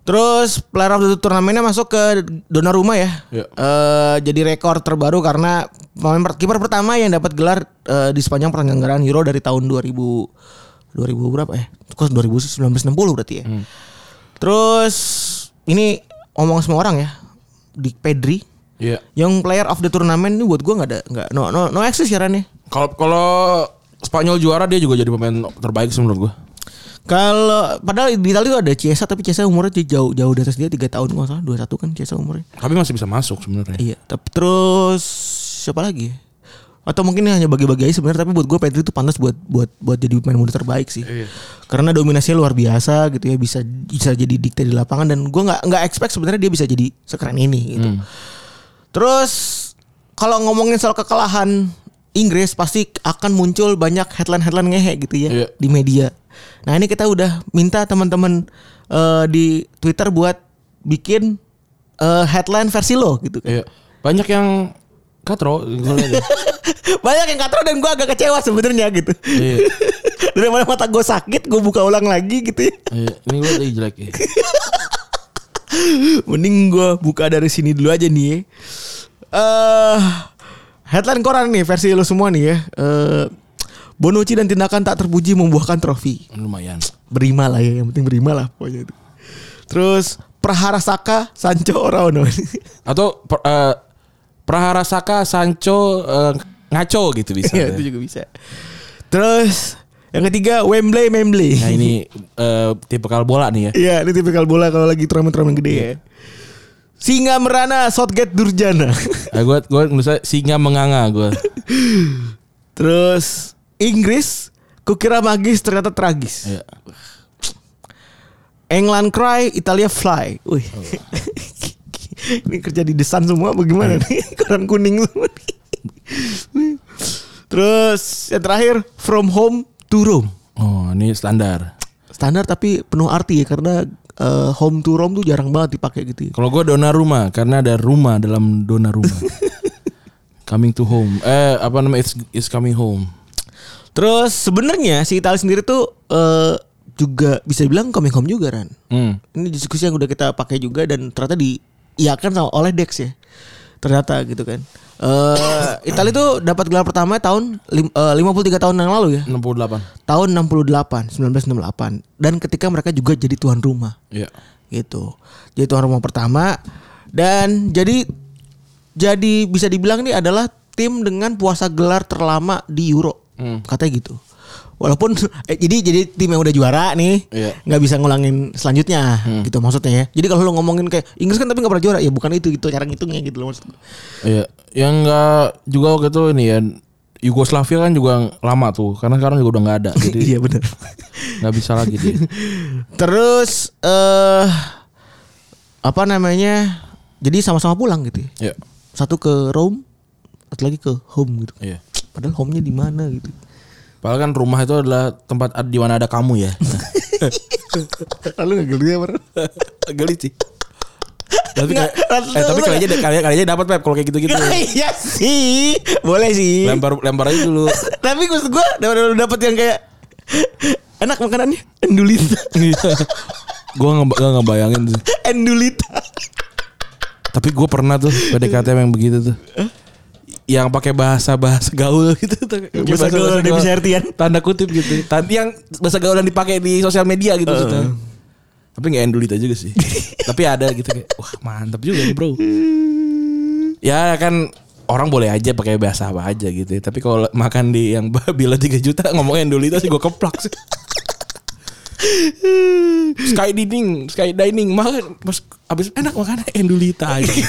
[SPEAKER 3] Terus player of the turnamennya masuk ke Donnarumma ya.
[SPEAKER 2] Iya.
[SPEAKER 3] Eh, jadi rekor terbaru karena pemain per- kiper pertama yang dapat gelar eh, di sepanjang penyelenggaraan Euro dari tahun 2000 2000 berapa ya? Kok 1960 berarti ya. Terus ini omong semua orang ya. Di Pedri
[SPEAKER 2] Iya.
[SPEAKER 3] yang player of the turnamen ini buat gua nggak ada nggak no no no exist ya Ran ya.
[SPEAKER 2] Kalau kalau Spanyol juara dia juga jadi pemain terbaik sih menurut gua.
[SPEAKER 3] Kalau padahal di Italia tuh ada Chiesa tapi Chiesa umurnya dia jauh jauh di atas dia 3 tahun nggak salah 21 kan Chiesa umurnya.
[SPEAKER 2] Tapi masih bisa masuk sebenarnya.
[SPEAKER 3] Iya. Tapi terus siapa lagi? ya? Atau mungkin hanya bagi-bagi aja sebenarnya tapi buat gue Pedri itu pantas buat buat buat jadi pemain muda terbaik sih. Karena dominasinya luar biasa gitu ya bisa bisa jadi dikte di lapangan dan gua nggak nggak expect sebenarnya dia bisa jadi sekeren ini gitu. Terus kalau ngomongin soal kekalahan Inggris pasti akan muncul banyak headline-headline ngehe gitu ya
[SPEAKER 2] Iya.
[SPEAKER 3] di media. Nah ini kita udah minta teman-teman eh, di Twitter buat bikin eh, headline versi lo gitu kan.
[SPEAKER 2] Iya. Banyak yang katro. gua lihat.
[SPEAKER 3] Banyak yang katro dan gue agak kecewa sebenarnya gitu.
[SPEAKER 2] Iya.
[SPEAKER 3] Daripada mata gue sakit, gue buka ulang lagi gitu. ya.
[SPEAKER 2] Iya. Ini gue tadi jelek ya.
[SPEAKER 3] Mending gue buka dari sini dulu aja nih. Eh headline koran nih versi lo semua nih ya. Eh Bonucci dan tindakan tak terpuji membuahkan trofi.
[SPEAKER 2] Lumayan.
[SPEAKER 3] Berima lah ya, yang penting berima lah pokoknya itu. Terus Prahara Saka, Sancho Orono.
[SPEAKER 2] Atau per- eh, Prahara Saka, Sancho, eh, Ngaco gitu bisa.
[SPEAKER 3] Iya, itu juga bisa. Terus yang ketiga Wembley Membley.
[SPEAKER 2] Nah ini eh tipe kal bola nih ya.
[SPEAKER 3] Iya, ini tipikal bola kalau lagi turnamen-turnamen gede ya. Singa merana, Southgate Durjana.
[SPEAKER 2] Eh, gue gue nulisnya singa menganga gue.
[SPEAKER 3] Terus Inggris, kukira magis ternyata tragis.
[SPEAKER 2] Iya.
[SPEAKER 3] England cry, Italia fly. Wih. ini kerja di desan semua bagaimana nih? Koran kuning semua. nih. Terus yang terakhir from home to room.
[SPEAKER 2] Oh ini standar.
[SPEAKER 3] Standar tapi penuh arti ya karena eh, home to room tuh jarang banget dipakai gitu. ya.
[SPEAKER 2] Kalau gue dona rumah karena ada rumah dalam dona rumah. coming to home. Eh apa namanya? It's, it's coming home.
[SPEAKER 3] Terus sebenarnya si Italia sendiri tuh eh, juga bisa dibilang coming home juga Ran.
[SPEAKER 2] Hmm.
[SPEAKER 3] Ini diskusi yang udah kita pakai juga dan ternyata diiakan sama oleh Dex ya. Ternyata gitu kan. Eh Italia tuh dapat gelar pertama tahun lim- eh, 53 tahun yang lalu ya.
[SPEAKER 2] 68.
[SPEAKER 3] Tahun 68, 1968 dan ketika mereka juga jadi tuan rumah
[SPEAKER 2] Iya.
[SPEAKER 3] gitu. Jadi tuan rumah pertama dan jadi jadi bisa dibilang ini adalah tim dengan puasa gelar terlama di Euro.
[SPEAKER 2] Hmm.
[SPEAKER 3] Katanya gitu. Walaupun eh, jadi jadi tim yang udah juara nih
[SPEAKER 2] Iya. Hmm.
[SPEAKER 3] nggak bisa ngulangin selanjutnya gitu maksudnya ya. Jadi kalau lo ngomongin kayak Inggris kan tapi nggak pernah juara ya bukan itu gitu cara ngitungnya gitu loh maksud gue.
[SPEAKER 2] Iya. Yang enggak juga waktu itu ini ya Yugoslavia kan juga lama tuh karena sekarang juga udah nggak ada jadi
[SPEAKER 3] Iya benar.
[SPEAKER 2] nggak bisa lagi dia.
[SPEAKER 3] Terus eh apa namanya? Jadi sama-sama pulang gitu. ya.
[SPEAKER 2] Iya.
[SPEAKER 3] Satu ke Rome, satu lagi ke home gitu.
[SPEAKER 2] Iya.
[SPEAKER 3] Padahal home-nya di mana gitu.
[SPEAKER 2] Padahal kan rumah itu adalah tempat ad- di mana ada kamu ya.
[SPEAKER 3] Lalu gak geli ya, Bro?
[SPEAKER 2] Gelit sih. tapi
[SPEAKER 3] Nggak,
[SPEAKER 2] kayak, eh, tapi
[SPEAKER 3] lu-
[SPEAKER 2] kali aja kali, kali aja dapat Pep kalau kayak gitu-gitu.
[SPEAKER 3] Iya sih, boleh sih.
[SPEAKER 2] lempar lempar aja dulu.
[SPEAKER 3] Tapi maksud gue dapat dapat yang kayak enak makanannya endulita.
[SPEAKER 2] gue nggak nggak ngebayangin sih.
[SPEAKER 3] endulita.
[SPEAKER 2] Tapi gue pernah tuh PDKT yang begitu tuh. Yang pakai bahasa bahasa gaul gitu. tuh.
[SPEAKER 3] Bahasa gaul, dia bisa artian.
[SPEAKER 2] Tanda kutip gitu. Tan- yang bahasa gaul yang dipakai di sosial media gitu. gitu. Tapi nggak endulita juga sih. Tapi ada gitu kayak wah mantap juga nih, bro. Ya kan orang boleh aja pakai bahasa apa aja gitu ya. Tapi kalau makan di yang babila 3 juta ngomongin dulu itu sih gue keplak sih. sky dining, sky dining, makan pas abis enak makan endulita gitu. aja.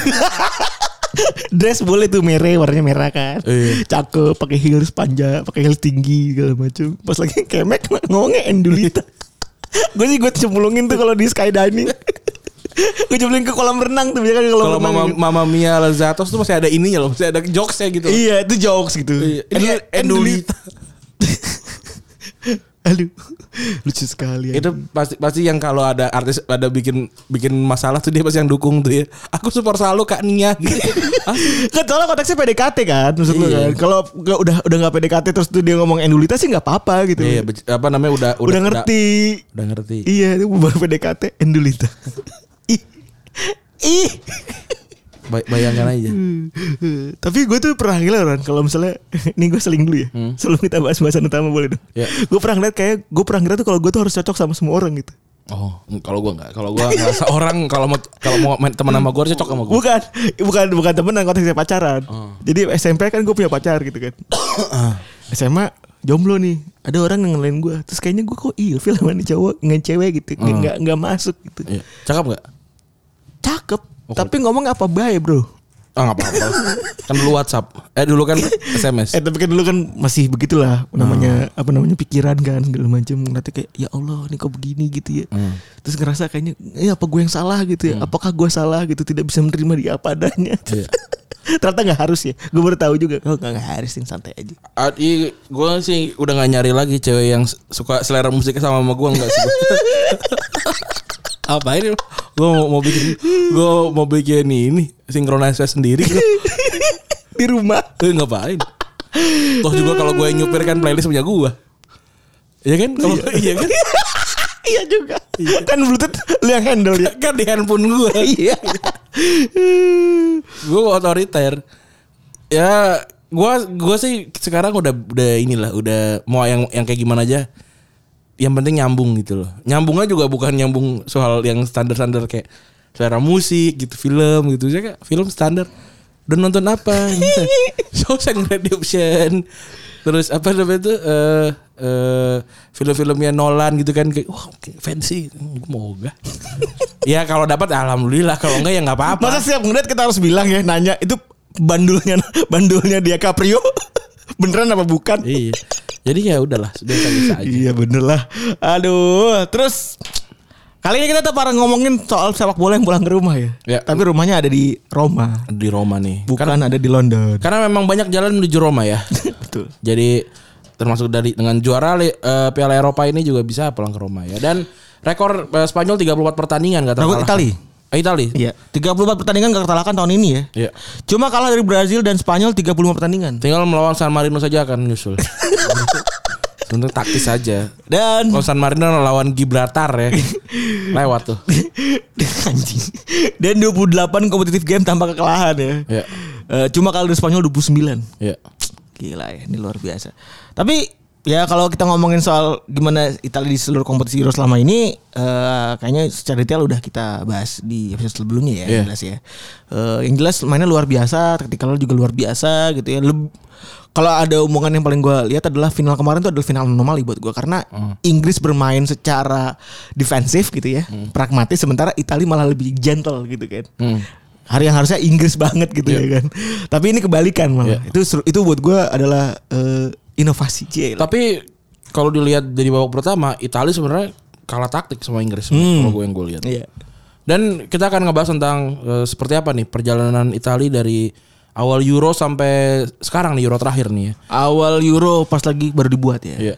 [SPEAKER 3] Dress boleh tuh merah, warnanya merah kan.
[SPEAKER 2] Iya.
[SPEAKER 3] Cakep, pakai heels panjang, pakai heels tinggi segala macam. Pas lagi kemek ngomongnya endulita. gue sih gue cemplungin tuh kalau di skydiving. gue cemplungin ke kolam renang tuh biasanya kan kalau
[SPEAKER 2] Kalau mama mama Mia Lazatos tuh masih ada ininya loh, masih ada jokesnya gitu.
[SPEAKER 3] Iya, itu jokes gitu.
[SPEAKER 2] Iya.
[SPEAKER 3] Endu-
[SPEAKER 2] Endulita.
[SPEAKER 3] Aduh, lucu sekali. ya.
[SPEAKER 2] itu pasti pasti yang kalau ada artis ada bikin bikin masalah tuh dia pasti yang dukung tuh ya aku support selalu kak Nia gitu Ah,
[SPEAKER 3] kan soalnya konteksnya PDKT kan maksud lu
[SPEAKER 2] Iya.
[SPEAKER 3] kan kalau nggak- udah udah nggak PDKT terus tuh dia ngomong endulita sih nggak apa-apa gitu
[SPEAKER 2] iya bec- apa namanya udah
[SPEAKER 3] udah, ngerti
[SPEAKER 2] udah, udah ngerti
[SPEAKER 3] iya itu baru PDKT endulita ih ih
[SPEAKER 2] Bay- bayangkan aja
[SPEAKER 3] tapi gue tuh pernah gila kan kalau misalnya ini gue seling dulu ya sebelum kita bahas bahasan utama boleh dong
[SPEAKER 2] Iya.
[SPEAKER 3] gue pernah ngeliat kayak gue pernah ngeliat tuh kalau gue tuh harus cocok sama semua orang gitu
[SPEAKER 2] oh kalau gua nggak kalau gua ngerasa orang kalau mau kalau mau main teman sama gua harus cocok sama gua
[SPEAKER 3] bukan bukan bukan temenan konteksnya pacaran jadi SMP kan gue punya pacar gitu kan SMA jomblo nih ada orang yang ngelain gue terus kayaknya gue kok ilfil sama nih cowok nggak cewek gitu nggak nggak nggak masuk gitu
[SPEAKER 2] iya. cakep nggak
[SPEAKER 3] cakep tapi ngomong apa baik bro
[SPEAKER 2] ah nggak apa-apa kan dulu WhatsApp eh dulu kan
[SPEAKER 3] eh
[SPEAKER 2] SMS
[SPEAKER 3] tapi kan dulu kan masih begitulah
[SPEAKER 2] Hmm.
[SPEAKER 3] namanya apa namanya pikiran kan segala macam nanti kayak ya Allah nih kok begini gitu ya
[SPEAKER 2] Hmm.
[SPEAKER 3] terus ngerasa kayaknya eh apa gue yang salah gitu ya apakah gue salah gitu tidak bisa menerima dia apa adanya
[SPEAKER 2] Iya.
[SPEAKER 3] ternyata nggak harus ya gue baru tahu juga oh nggak nggak harus yang santai aja
[SPEAKER 2] Ah, iya, gua sih udah nggak nyari lagi cewek yang suka selera musiknya sama sama gua nggak sih apa ini gue mau, mau bikin gue mau bikin ini sinkronisasi sendiri gua.
[SPEAKER 3] di rumah
[SPEAKER 2] Eh, ngapain toh juga kalau gue nyupir kan playlist punya gue Iya kan kalau iya kan
[SPEAKER 3] iya juga kan bluetooth lu yang handle ya
[SPEAKER 2] kan di handphone gue
[SPEAKER 3] iya
[SPEAKER 2] gue otoriter ya gue gue sih sekarang udah udah inilah udah mau yang yang kayak gimana aja yang penting nyambung gitu loh nyambungnya juga bukan nyambung soal yang standar standar kayak selera musik gitu film gitu saya kayak film standar dan nonton apa gitu. Shawshank Redemption terus apa namanya tuh eh eh, film-filmnya Nolan gitu kan kayak wah kayak fancy Gua mau gak ya kalau dapat alhamdulillah kalau enggak ya nggak apa-apa
[SPEAKER 3] masa setiap ngeliat kita harus bilang ya nanya itu bandulnya bandulnya dia Caprio beneran apa bukan
[SPEAKER 2] iya. Jadi ya udahlah, biasa biasa aja.
[SPEAKER 3] Iya bener lah Aduh Terus Kali ini kita tetap akan ngomongin soal sepak bola yang pulang ke rumah ya.
[SPEAKER 2] Ya.
[SPEAKER 3] Tapi rumahnya ada di Roma,
[SPEAKER 2] Di Roma nih.
[SPEAKER 3] bukan ada di London.
[SPEAKER 2] Karena memang banyak jalan menuju Roma ya.
[SPEAKER 3] Betul.
[SPEAKER 2] Jadi termasuk dari dengan juara li- eh, Piala Eropa ini juga bisa pulang ke Roma ya. Dan rekor eh, Spanyol 34 pertandingan kata
[SPEAKER 3] Rekor Itali.
[SPEAKER 2] Eh, Itali.
[SPEAKER 3] Iya. 34 pertandingan gak terkalahkan tahun ini ya.
[SPEAKER 2] Iya.
[SPEAKER 3] Cuma kalah dari Brazil dan Spanyol 35 pertandingan.
[SPEAKER 2] Tinggal melawan San Marino saja akan menyusul. Tentu taktis saja.
[SPEAKER 3] Dan
[SPEAKER 2] Kalau San Marino lawan Gibraltar ya. Lewat tuh.
[SPEAKER 3] anjing. Dan 28 kompetitif game tanpa kekalahan ya.
[SPEAKER 2] Iya.
[SPEAKER 3] Eh, cuma kalah dari Spanyol 29.
[SPEAKER 2] Iya.
[SPEAKER 3] Gila ya, ini luar biasa. Tapi ya kalau kita ngomongin soal gimana Italia di seluruh kompetisi Euro selama ini, eh, kayaknya secara detail udah kita bahas di episode
[SPEAKER 2] Iya.
[SPEAKER 3] sebelumnya ya, yang jelas ya. Eh, yang jelas mainnya luar biasa, taktikalnya juga luar biasa gitu ya. Leb- kalau ada omongan yang paling gue lihat adalah final kemarin tuh adalah final anomali buat gue karena Inggris bermain secara defensif gitu ya, pragmatis sementara Italia malah lebih gentle gitu kan. Hari yang harusnya Inggris banget gitu ya kan. Tapi ini kebalikan malah. Itu seru- itu buat gue adalah eh, inovasi Cie.
[SPEAKER 2] Tapi kalau dilihat dari babak pertama, Italia sebenarnya kalah taktik sama Inggris kalau gue yang gue lihat.
[SPEAKER 3] Iya.
[SPEAKER 2] Dan kita akan ngebahas tentang eh, seperti apa nih perjalanan Italia dari awal Euro sampai sekarang nih Euro terakhir nih ya.
[SPEAKER 3] Awal Euro pas lagi baru dibuat ya.
[SPEAKER 2] Iya.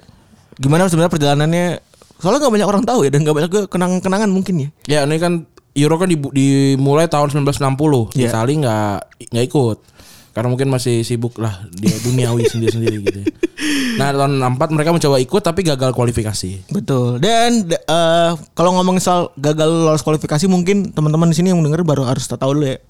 [SPEAKER 3] Gimana sebenarnya perjalanannya? Soalnya nggak banyak orang tahu ya dan nggak banyak kenangan-kenangan mungkin ya.
[SPEAKER 2] Ya ini kan Euro kan dibu- dimulai tahun 1960.
[SPEAKER 3] Iya.
[SPEAKER 2] Italia nggak nggak ikut karena mungkin masih sibuk lah dia duniawi sendiri-sendiri gitu. ya. Nah tahun 64 mereka mencoba ikut tapi gagal kualifikasi.
[SPEAKER 3] Betul. Dan d- eh, kalau ngomongin soal gagal lolos kualifikasi mungkin teman-teman di sini yang denger baru harus tahu dulu ya.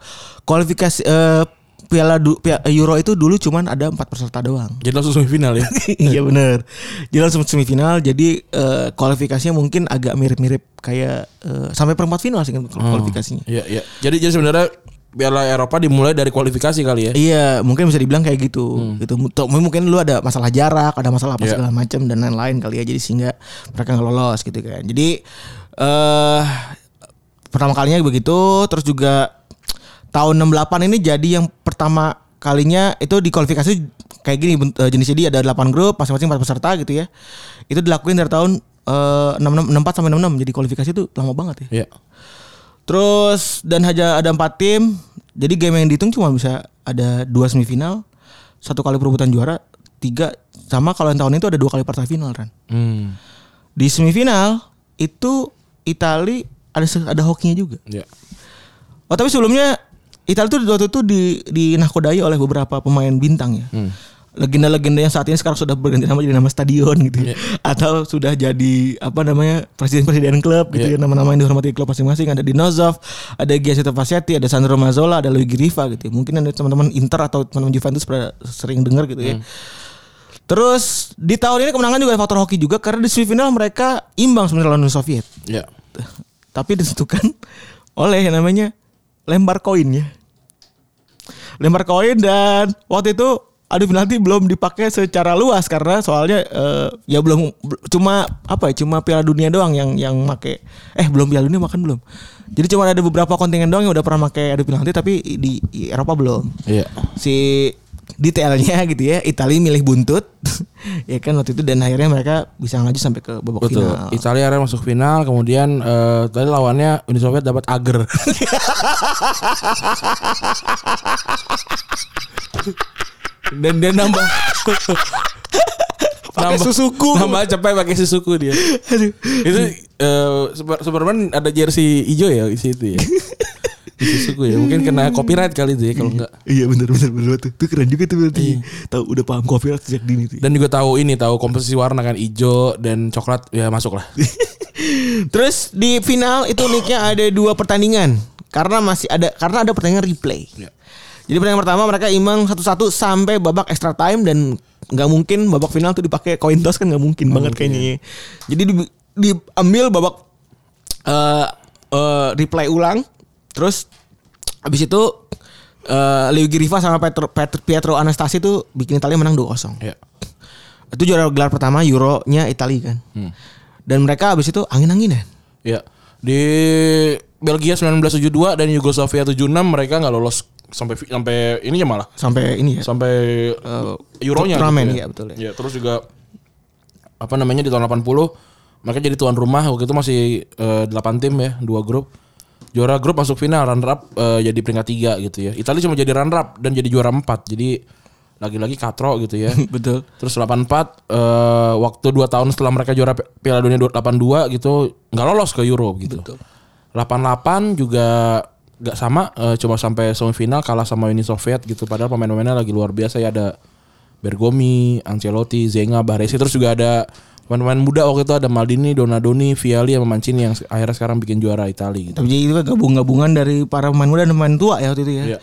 [SPEAKER 3] Kualifikasi eh, Piala, du, Pia- eh, Euro itu dulu cuman ada empat peserta doang.
[SPEAKER 2] Jadi langsung semifinal ya.
[SPEAKER 3] iya bener Jadi langsung semifinal Jadi eh, kualifikasinya mungkin agak mirip-mirip Kayak eh, sampai perempat final sih kan kualifikasinya
[SPEAKER 2] Iya, iya. Jadi jadi sebenarnya Piala Eropa dimulai dari kualifikasi kali ya. Hmm.
[SPEAKER 3] Iya, mungkin bisa dibilang kayak gitu. Gitu. Tuh, Mungkin lu ada masalah jarak, ada masalah apa
[SPEAKER 2] Iya.
[SPEAKER 3] segala macam dan lain-lain kali ya. Jadi sehingga mereka nggak lolos gitu kan. Jadi eh pertama kalinya begitu, terus juga tahun 68 ini jadi yang pertama kalinya itu di kualifikasi kayak gini bent- eh, jenisnya dia ada 8 grup, masing-masing 4 peserta gitu ya. Itu dilakuin dari tahun eh, 66 64 sampai 66. Jadi kualifikasi itu lama banget ya.
[SPEAKER 2] Iya.
[SPEAKER 3] Terus dan hanya ada empat tim. Jadi game yang dihitung cuma bisa ada dua semifinal, satu kali perebutan juara, tiga sama kalau yang tahun itu ada dua kali partai final kan.
[SPEAKER 2] Hmm.
[SPEAKER 3] Di semifinal itu Itali ada se- ada hokinya juga.
[SPEAKER 2] Iya.
[SPEAKER 3] Oh tapi sebelumnya Italia tuh waktu itu di dinakodai oleh beberapa pemain bintang ya. Legenda-legenda yang saat ini sekarang sudah berganti nama jadi nama stadion gitu ya. Atau sudah jadi apa namanya presiden-presiden klub gitu ya. Nama-nama yang dihormati klub masing-masing. Ada Dinozov, ada Giacinto Fasciatti, ada Sandro Mazzola, ada Luigi Riva gitu ya. Mungkin ada teman-teman Inter atau teman-teman Juventus pernah sering dengar gitu ya. Terus di tahun ini kemenangan juga ada faktor hoki juga karena di semifinal mereka imbang sebenarnya lawan Uni Soviet
[SPEAKER 2] Iya.
[SPEAKER 3] tapi ditentukan oleh yang namanya lempar koin ya. Lempar koin dan waktu itu adu penalti belum dipakai secara luas karena soalnya eh, ya belum cuma apa ya cuma Piala Dunia doang yang yang make eh belum Piala Dunia makan belum. Jadi cuma ada beberapa kontingen doang yang udah pernah pakai adu penalti tapi di Eropa belum
[SPEAKER 2] Iya.
[SPEAKER 3] si detailnya gitu ya Italia milih buntut ya kan waktu itu dan akhirnya mereka bisa maju sampai ke babak
[SPEAKER 2] Betul.
[SPEAKER 3] final
[SPEAKER 2] Italia akhirnya masuk final, kemudian eh, tadi lawannya Uni Soviet dapat ager. dan dia nambah
[SPEAKER 3] Pakai Suzuku.
[SPEAKER 2] nambah capek pakai susuku dia
[SPEAKER 3] Aduh.
[SPEAKER 2] itu eh, Super- Superman ada jersey hijau ya di situ ya di susuku ya mungkin kena copyright kali itu ya kalau enggak
[SPEAKER 3] Iya benar benar benar tuh. Itu keren juga tuh berarti. Tahu udah paham kopi sejak dini tuh.
[SPEAKER 2] dan juga tahu ini tahu komposisi warna kan hijau dan coklat ya masuk lah
[SPEAKER 3] Terus di final itu uniknya ada dua pertandingan karena masih ada karena ada pertandingan replay. Jadi pertandingan pertama mereka imbang satu-satu sampai babak extra time dan nggak mungkin babak final tuh dipakai coin toss kan nggak mungkin iya. banget kayaknya. Jadi di- diambil babak eh eh, replay ulang terus habis itu eh Luigi Riva sama Petro, Petro- Pietro Anastasi tuh bikin Italia menang 2-0.
[SPEAKER 2] ya
[SPEAKER 3] Itu juara gelar pertama Euro-nya Italia kan.
[SPEAKER 2] Hmm.
[SPEAKER 3] Dan mereka habis itu angin-anginan.
[SPEAKER 2] ya di Belgia 1972 dan Yugoslavia 76 mereka nggak lolos sampai sampai ini ya malah
[SPEAKER 3] Sampai ini ya. Eh,
[SPEAKER 2] sampai Euronya gitu
[SPEAKER 3] turnamen, iya, betul ya.
[SPEAKER 2] Iya, terus juga apa namanya di tahun 80 mereka jadi tuan rumah waktu itu masih eh, 8 tim ya, dua grup. Juara grup masuk final, runner up eh, jadi peringkat 3 gitu ya. Italia cuma jadi runner up dan jadi juara 4. Jadi lagi-lagi katro gitu ya.
[SPEAKER 3] Betul.
[SPEAKER 2] Terus 84 eh, waktu 2 tahun setelah mereka juara Pi- Piala Dunia 82 gitu nggak lolos ke Euro gitu. 88 juga nggak sama eh, cuma sampai semifinal kalah sama Uni Soviet gitu padahal pemain-pemainnya lagi luar biasa ya ada Bergomi, Ancelotti, Zenga, Baresi terus juga ada pemain-pemain muda waktu itu ada Maldini, Donadoni, Vialli sama Mancini yang se- akhirnya sekarang bikin juara Italia gitu.
[SPEAKER 3] Tapi jadi itu kan gabung-gabungan dari para pemain muda dan pemain tua ya waktu itu ya.
[SPEAKER 2] Iya.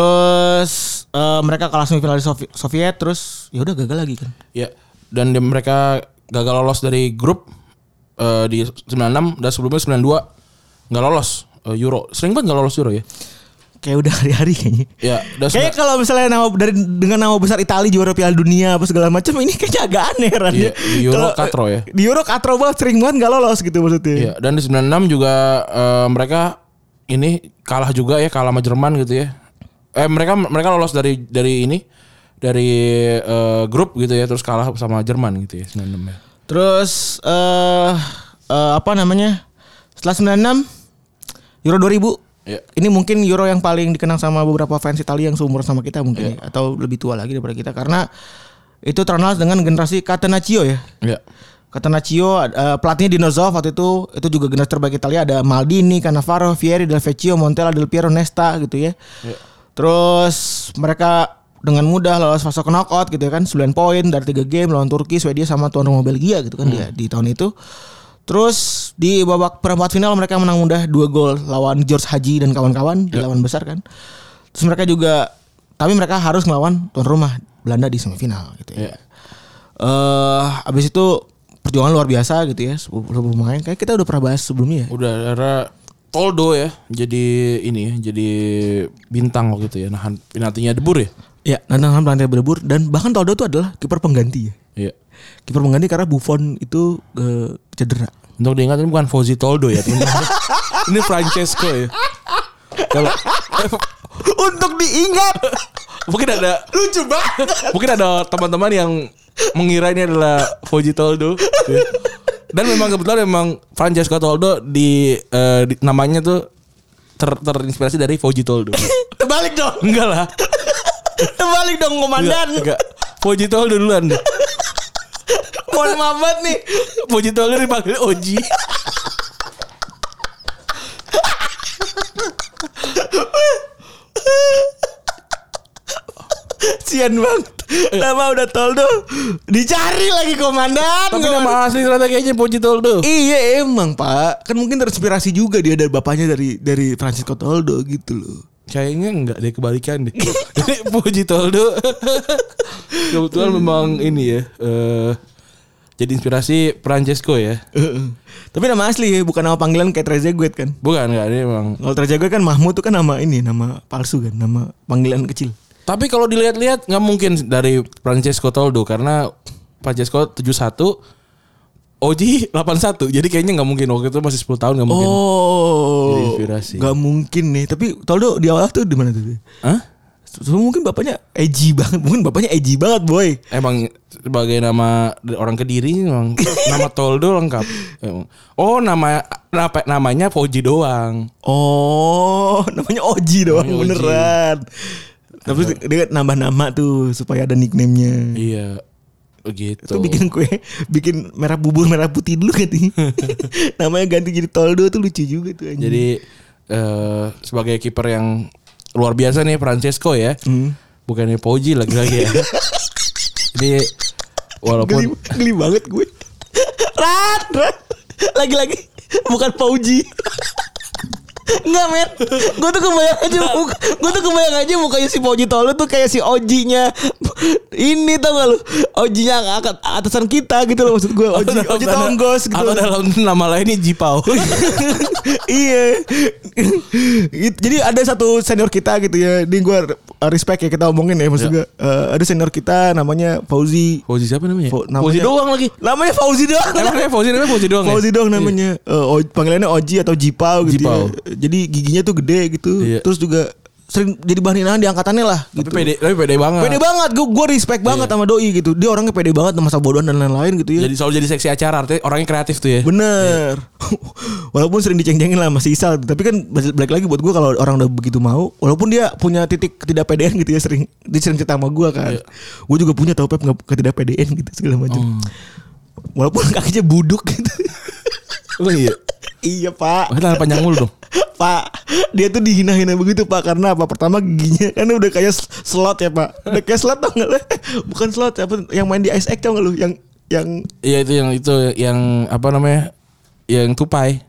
[SPEAKER 3] Terus eh, mereka kalah semifinal di Sovi- Soviet terus ya udah gagal lagi kan.
[SPEAKER 2] Ya, dan dia- mereka gagal lolos dari grup eh, di 96 dan sebelumnya 92 nggak lolos eh, Euro. Sering banget nggak lolos Euro ya.
[SPEAKER 3] Kayak udah hari-hari kayaknya.
[SPEAKER 2] Ya, dan
[SPEAKER 3] Kayaknya kalau misalnya nama dari dengan nama besar Italia juara Piala Dunia apa segala macam ini kayaknya agak aneh kan.
[SPEAKER 2] Iya, di Euro katro ya.
[SPEAKER 3] Di Euro katro banget sering banget nggak lolos gitu maksudnya.
[SPEAKER 2] ya, dan di 96 juga eh, mereka ini kalah juga ya, kalah sama Jerman gitu ya. Eh mereka mereka lolos dari dari ini dari eh, grup gitu ya, terus kalah sama Jerman gitu ya 96 ya.
[SPEAKER 3] Terus eh eh, apa namanya? Setelah 96 Euro 2000.
[SPEAKER 2] Iya.
[SPEAKER 3] Ini mungkin Euro yang paling dikenang sama beberapa fans Italia yang seumur sama kita mungkin ya. atau lebih tua lagi daripada kita karena itu terkenal dengan generasi Catenaccio ya.
[SPEAKER 2] Ya.
[SPEAKER 3] Catenaccio eh, pelatihnya Dinozov waktu itu itu juga generasi terbaik Italia ada Maldini, Cannavaro, Fieri, Del Vecchio, Montella, Del Piero, Nesta gitu ya. Terus mereka dengan mudah lolos fase knockout gitu ya kan 9 poin dari 3 game lawan Turki, Swedia sama tuan rumah Belgia gitu kan dia di tahun itu. Terus di babak perempat final mereka menang mudah 2 gol lawan George Haji dan kawan-kawan di lawan besar kan. Terus mereka juga tapi mereka harus melawan tuan rumah Belanda di semifinal gitu ya.
[SPEAKER 2] Ya.
[SPEAKER 3] Eh, abis itu perjuangan luar biasa gitu ya. Seluruh pemain kayak kita udah pernah bahas sebelumnya. ya.
[SPEAKER 2] Udah era Toldo ya jadi ini ya, jadi bintang waktu itu ya nahan penaltinya debur ya
[SPEAKER 3] Ya, Nandang Ham lantai berdebur dan bahkan Toldo itu adalah kiper pengganti ya.
[SPEAKER 2] iya
[SPEAKER 3] Kiper pengganti karena Buffon itu eh, cedera.
[SPEAKER 2] untuk diingat ini bukan Fauzi Toldo ya teman ini Francesco ya kalau
[SPEAKER 3] Untuk diingat.
[SPEAKER 2] mungkin ada
[SPEAKER 3] Lucu banget.
[SPEAKER 2] mungkin ada teman-teman yang mengira ini adalah Fauzi Toldo ya. dan memang kebetulan memang Francesco Toldo di, eh, di- namanya tuh ter- terinspirasi dari Fauzi Toldo
[SPEAKER 3] Terbalik dong.
[SPEAKER 2] enggak lah
[SPEAKER 3] Terbalik dong
[SPEAKER 2] enggak,
[SPEAKER 3] komandan.
[SPEAKER 2] enggak. Fauzi Toldo duluan deh
[SPEAKER 3] Mohon maaf banget nih.
[SPEAKER 2] Fauzi Toldo dipanggil Oji
[SPEAKER 3] Sian banget. Nama udah Toldo. Dicari lagi komandan.
[SPEAKER 2] tapi
[SPEAKER 3] Komandan.
[SPEAKER 2] nama asli ternyata kayaknya Fauzi Toldo
[SPEAKER 3] Iya emang pak Kan mungkin terinspirasi juga dia dari bapaknya dari dari Francisco Toldo gitu loh
[SPEAKER 2] Kayaknya enggak deh kebalikan deh. Jadi Puji Toldo kebetulan memang ini ya. eh jadi inspirasi Francesco ya.
[SPEAKER 3] Tapi nama asli ya Bukan nama panggilan kayak Trezeguet kan
[SPEAKER 2] Bukan enggak ini memang.
[SPEAKER 3] Kalau Trezeguet kan Mahmud tuh kan nama ini Nama palsu kan Nama panggilan kecil
[SPEAKER 2] Tapi kalau dilihat-lihat nggak mungkin dari Francesco Toldo karena Francesco 71 Oji 81 jadi kayaknya nggak mungkin waktu itu masih 10 tahun nggak mungkin. Jadi
[SPEAKER 3] Oh
[SPEAKER 2] inspirasi.
[SPEAKER 3] Gak mungkin nih Tapi Toldo di awal tuh di mana tuh
[SPEAKER 2] Hah?
[SPEAKER 3] So, mungkin bapaknya edgy banget Mungkin bapaknya edgy banget boy
[SPEAKER 2] Emang sebagai nama orang kediri memang nama Toldo lengkap. Emang. Oh nama apa namanya Fauji doang.
[SPEAKER 3] Oh Namanya Oji doang
[SPEAKER 2] Namanya Oji.
[SPEAKER 3] beneran Tapi dia nambah nama tuh Supaya ada nicknamenya
[SPEAKER 2] Iya. Begitu.
[SPEAKER 3] Itu bikin kue bikin merah bubur merah putih dulu ganti. Namanya ganti jadi toldo tuh lucu juga tuh anjing.
[SPEAKER 2] Jadi eh, sebagai kiper yang luar biasa nih Francesco ya.
[SPEAKER 3] Hmm.
[SPEAKER 2] Bukannya Poji lagi-lagi ya. Jadi
[SPEAKER 3] geli,
[SPEAKER 2] walaupun
[SPEAKER 3] geli banget gue. Rat, rat. Lagi-lagi bukan Pauji. Enggak men Gue tuh kebayang aja muka- Gue tuh kebayang aja mukanya si Pauji Tolo tuh kayak si Ojinya Ini tau gak lu Ojinya yang akat- atasan kita gitu loh maksud gue Oji, Oji Tonggos gitu
[SPEAKER 2] Oh, Atau dalam nama lainnya Jipao.
[SPEAKER 3] iya It- jadi ada satu senior kita gitu ya ini gue respect ya kita omongin ya maksud gue Eh, ada senior kita namanya Fauzi
[SPEAKER 2] Poji siapa namanya?
[SPEAKER 3] Fau- namanya-
[SPEAKER 2] Fauzi doang lagi. Kan
[SPEAKER 3] namanya Fauzi doang
[SPEAKER 2] Namanya Fauzi namanya Fauzi doang. ya?
[SPEAKER 3] Fauzi doang namanya Eh, O- panggilannya Oji atau Jipau gitu
[SPEAKER 2] Jipau.
[SPEAKER 3] ya. jadi giginya tuh gede gitu
[SPEAKER 2] Iya.
[SPEAKER 3] terus juga sering jadi bahan hinaan di angkatannya lah gitu
[SPEAKER 2] Tapi kan- pede, tapi pede banget.
[SPEAKER 3] Pede banget gue gue respect banget sama doi gitu dia orangnya pede banget sama masa bodohan dan lain-lain gitu ya
[SPEAKER 2] Jadi selalu jadi seksi acara artinya orangnya kreatif tuh ya.
[SPEAKER 3] Bener. walaupun sering diceng-cengin lah masih Isal, tapi kan balik lagi buat gue kalau orang udah begitu mau, walaupun dia punya titik ketidakpedean gitu ya sering dia sering cerita sama gue kan.
[SPEAKER 2] Iya.
[SPEAKER 3] Gue juga punya tau pep nggak- ketidakpedean gitu segala macam.
[SPEAKER 2] Hmm.
[SPEAKER 3] Walaupun kakinya buduk gitu.
[SPEAKER 2] Oh iya.
[SPEAKER 3] iya pak.
[SPEAKER 2] Makanya tangan panjang mulu dong.
[SPEAKER 3] Pak, dia tuh dihina-hina begitu Pak karena apa? Pertama giginya kan udah kayak s- slot ya Pak. Udah kayak slot tau nggak lu? Bukan slot apa yang main di Ice Egg tau nggak lu? Yang yang
[SPEAKER 2] Iya itu yang itu yang apa namanya? Yang tupai.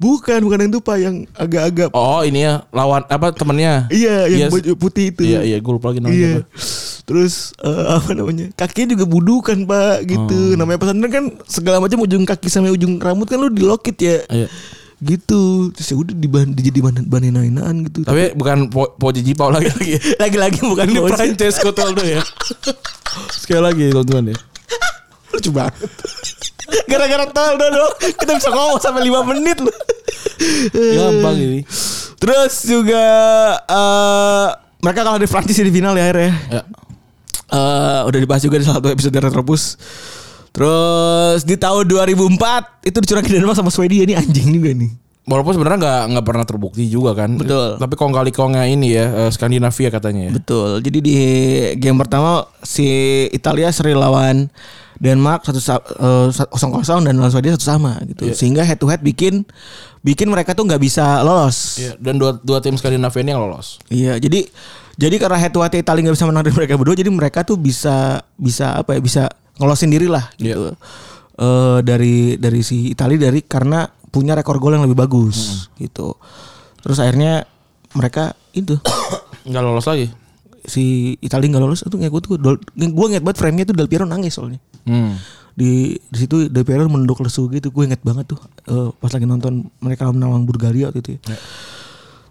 [SPEAKER 3] bukan bukan yang tupa yang agak-agak
[SPEAKER 2] Oh ini ya lawan apa temennya?
[SPEAKER 3] Iya, yang
[SPEAKER 2] Yes.
[SPEAKER 3] baju putih itu.
[SPEAKER 2] Iya iya gue lupa lagi namanya.
[SPEAKER 3] Iya.
[SPEAKER 2] apa.
[SPEAKER 3] Terus eh, apa namanya? Kakinya juga budukan, Pak,
[SPEAKER 2] Oh.
[SPEAKER 3] gitu. Namanya pesantren kan segala macam ujung kaki sampai ujung rambut kan lu dilokit ya.
[SPEAKER 2] Iya.
[SPEAKER 3] Gitu. Terus ya udah diban dijadi bahan bahan hinaan gitu.
[SPEAKER 2] Tapi bukan po, po Jipau lagi lagi.
[SPEAKER 3] lagi-lagi bukan
[SPEAKER 2] Ini
[SPEAKER 3] bocil.
[SPEAKER 2] Francesco Toldo ya. Sekali lagi teman-teman ya.
[SPEAKER 3] Lucu banget. Gara-gara tol dong, dong. Kita bisa ngomong sampai 5 menit loh. Iya.
[SPEAKER 2] Gampang ini.
[SPEAKER 3] Terus juga eh mereka kalah di Prancis di final ya akhirnya.
[SPEAKER 2] Ya.
[SPEAKER 3] Eh, udah dibahas juga di salah satu episode Retrobus. Terus di tahun 2004 itu dicurangin Denmark sama Swedia ini anjing juga nih.
[SPEAKER 2] Walaupun sebenarnya nggak nggak pernah terbukti juga kan.
[SPEAKER 3] Betul.
[SPEAKER 2] Tapi kong kali kongnya ini ya eh, Skandinavia katanya. ya.
[SPEAKER 3] Betul. Jadi di game pertama si Italia seri lawan Denmark satu sa- eh, sa- 0-0 dan lawan Swedia satu sama gitu. Sehingga head to head bikin bikin mereka tuh nggak bisa lolos.
[SPEAKER 2] Iya, Dan dua dua tim Skandinavia ini yang lolos.
[SPEAKER 3] Iya, jadi jadi karena head to head Italia nggak bisa menang dari mereka berdua, jadi mereka tuh bisa bisa apa ya bisa ngelosin diri lah gitu. Eh, dari dari si Italia dari karena punya rekor gol yang lebih bagus gitu. Terus akhirnya mereka itu
[SPEAKER 2] Nggak lolos lagi.
[SPEAKER 3] si Italia nggak lolos itu nggak gue tuh gue inget banget frame-nya tuh Del Piero nangis soalnya.
[SPEAKER 2] Hmm.
[SPEAKER 3] di di situ DPR mendok lesu gitu gue inget banget tuh eh, pas lagi nonton mereka menawang Bulgaria waktu itu ya.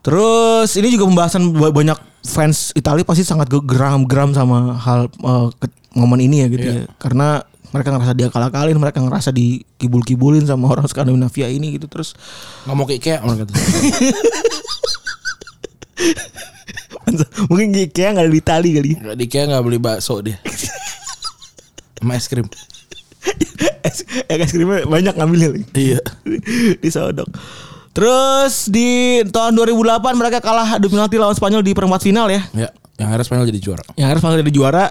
[SPEAKER 3] Terus ini juga pembahasan ba- banyak fans Italia pasti sangat ge- geram-geram sama hal eh, ke- momen ini ya gitu ya. Karena mereka ngerasa diakal-akalin, mereka ngerasa dikibul-kibulin sama orang Skandinavia ini gitu. Terus
[SPEAKER 2] nggak mau kayak orang kata
[SPEAKER 3] mungkin kayak nggak ada di Itali kali. ya.
[SPEAKER 2] nggak di Ikea nggak beli bakso dia sama es krim
[SPEAKER 3] es, es krimnya banyak ngambilnya lagi.
[SPEAKER 2] iya
[SPEAKER 3] disodok. Terus di tahun 2008 mereka kalah adu penalti lawan Spanyol di perempat final ya.
[SPEAKER 2] ya yang akhirnya Spanyol jadi juara
[SPEAKER 3] Yang akhirnya Spanyol jadi juara.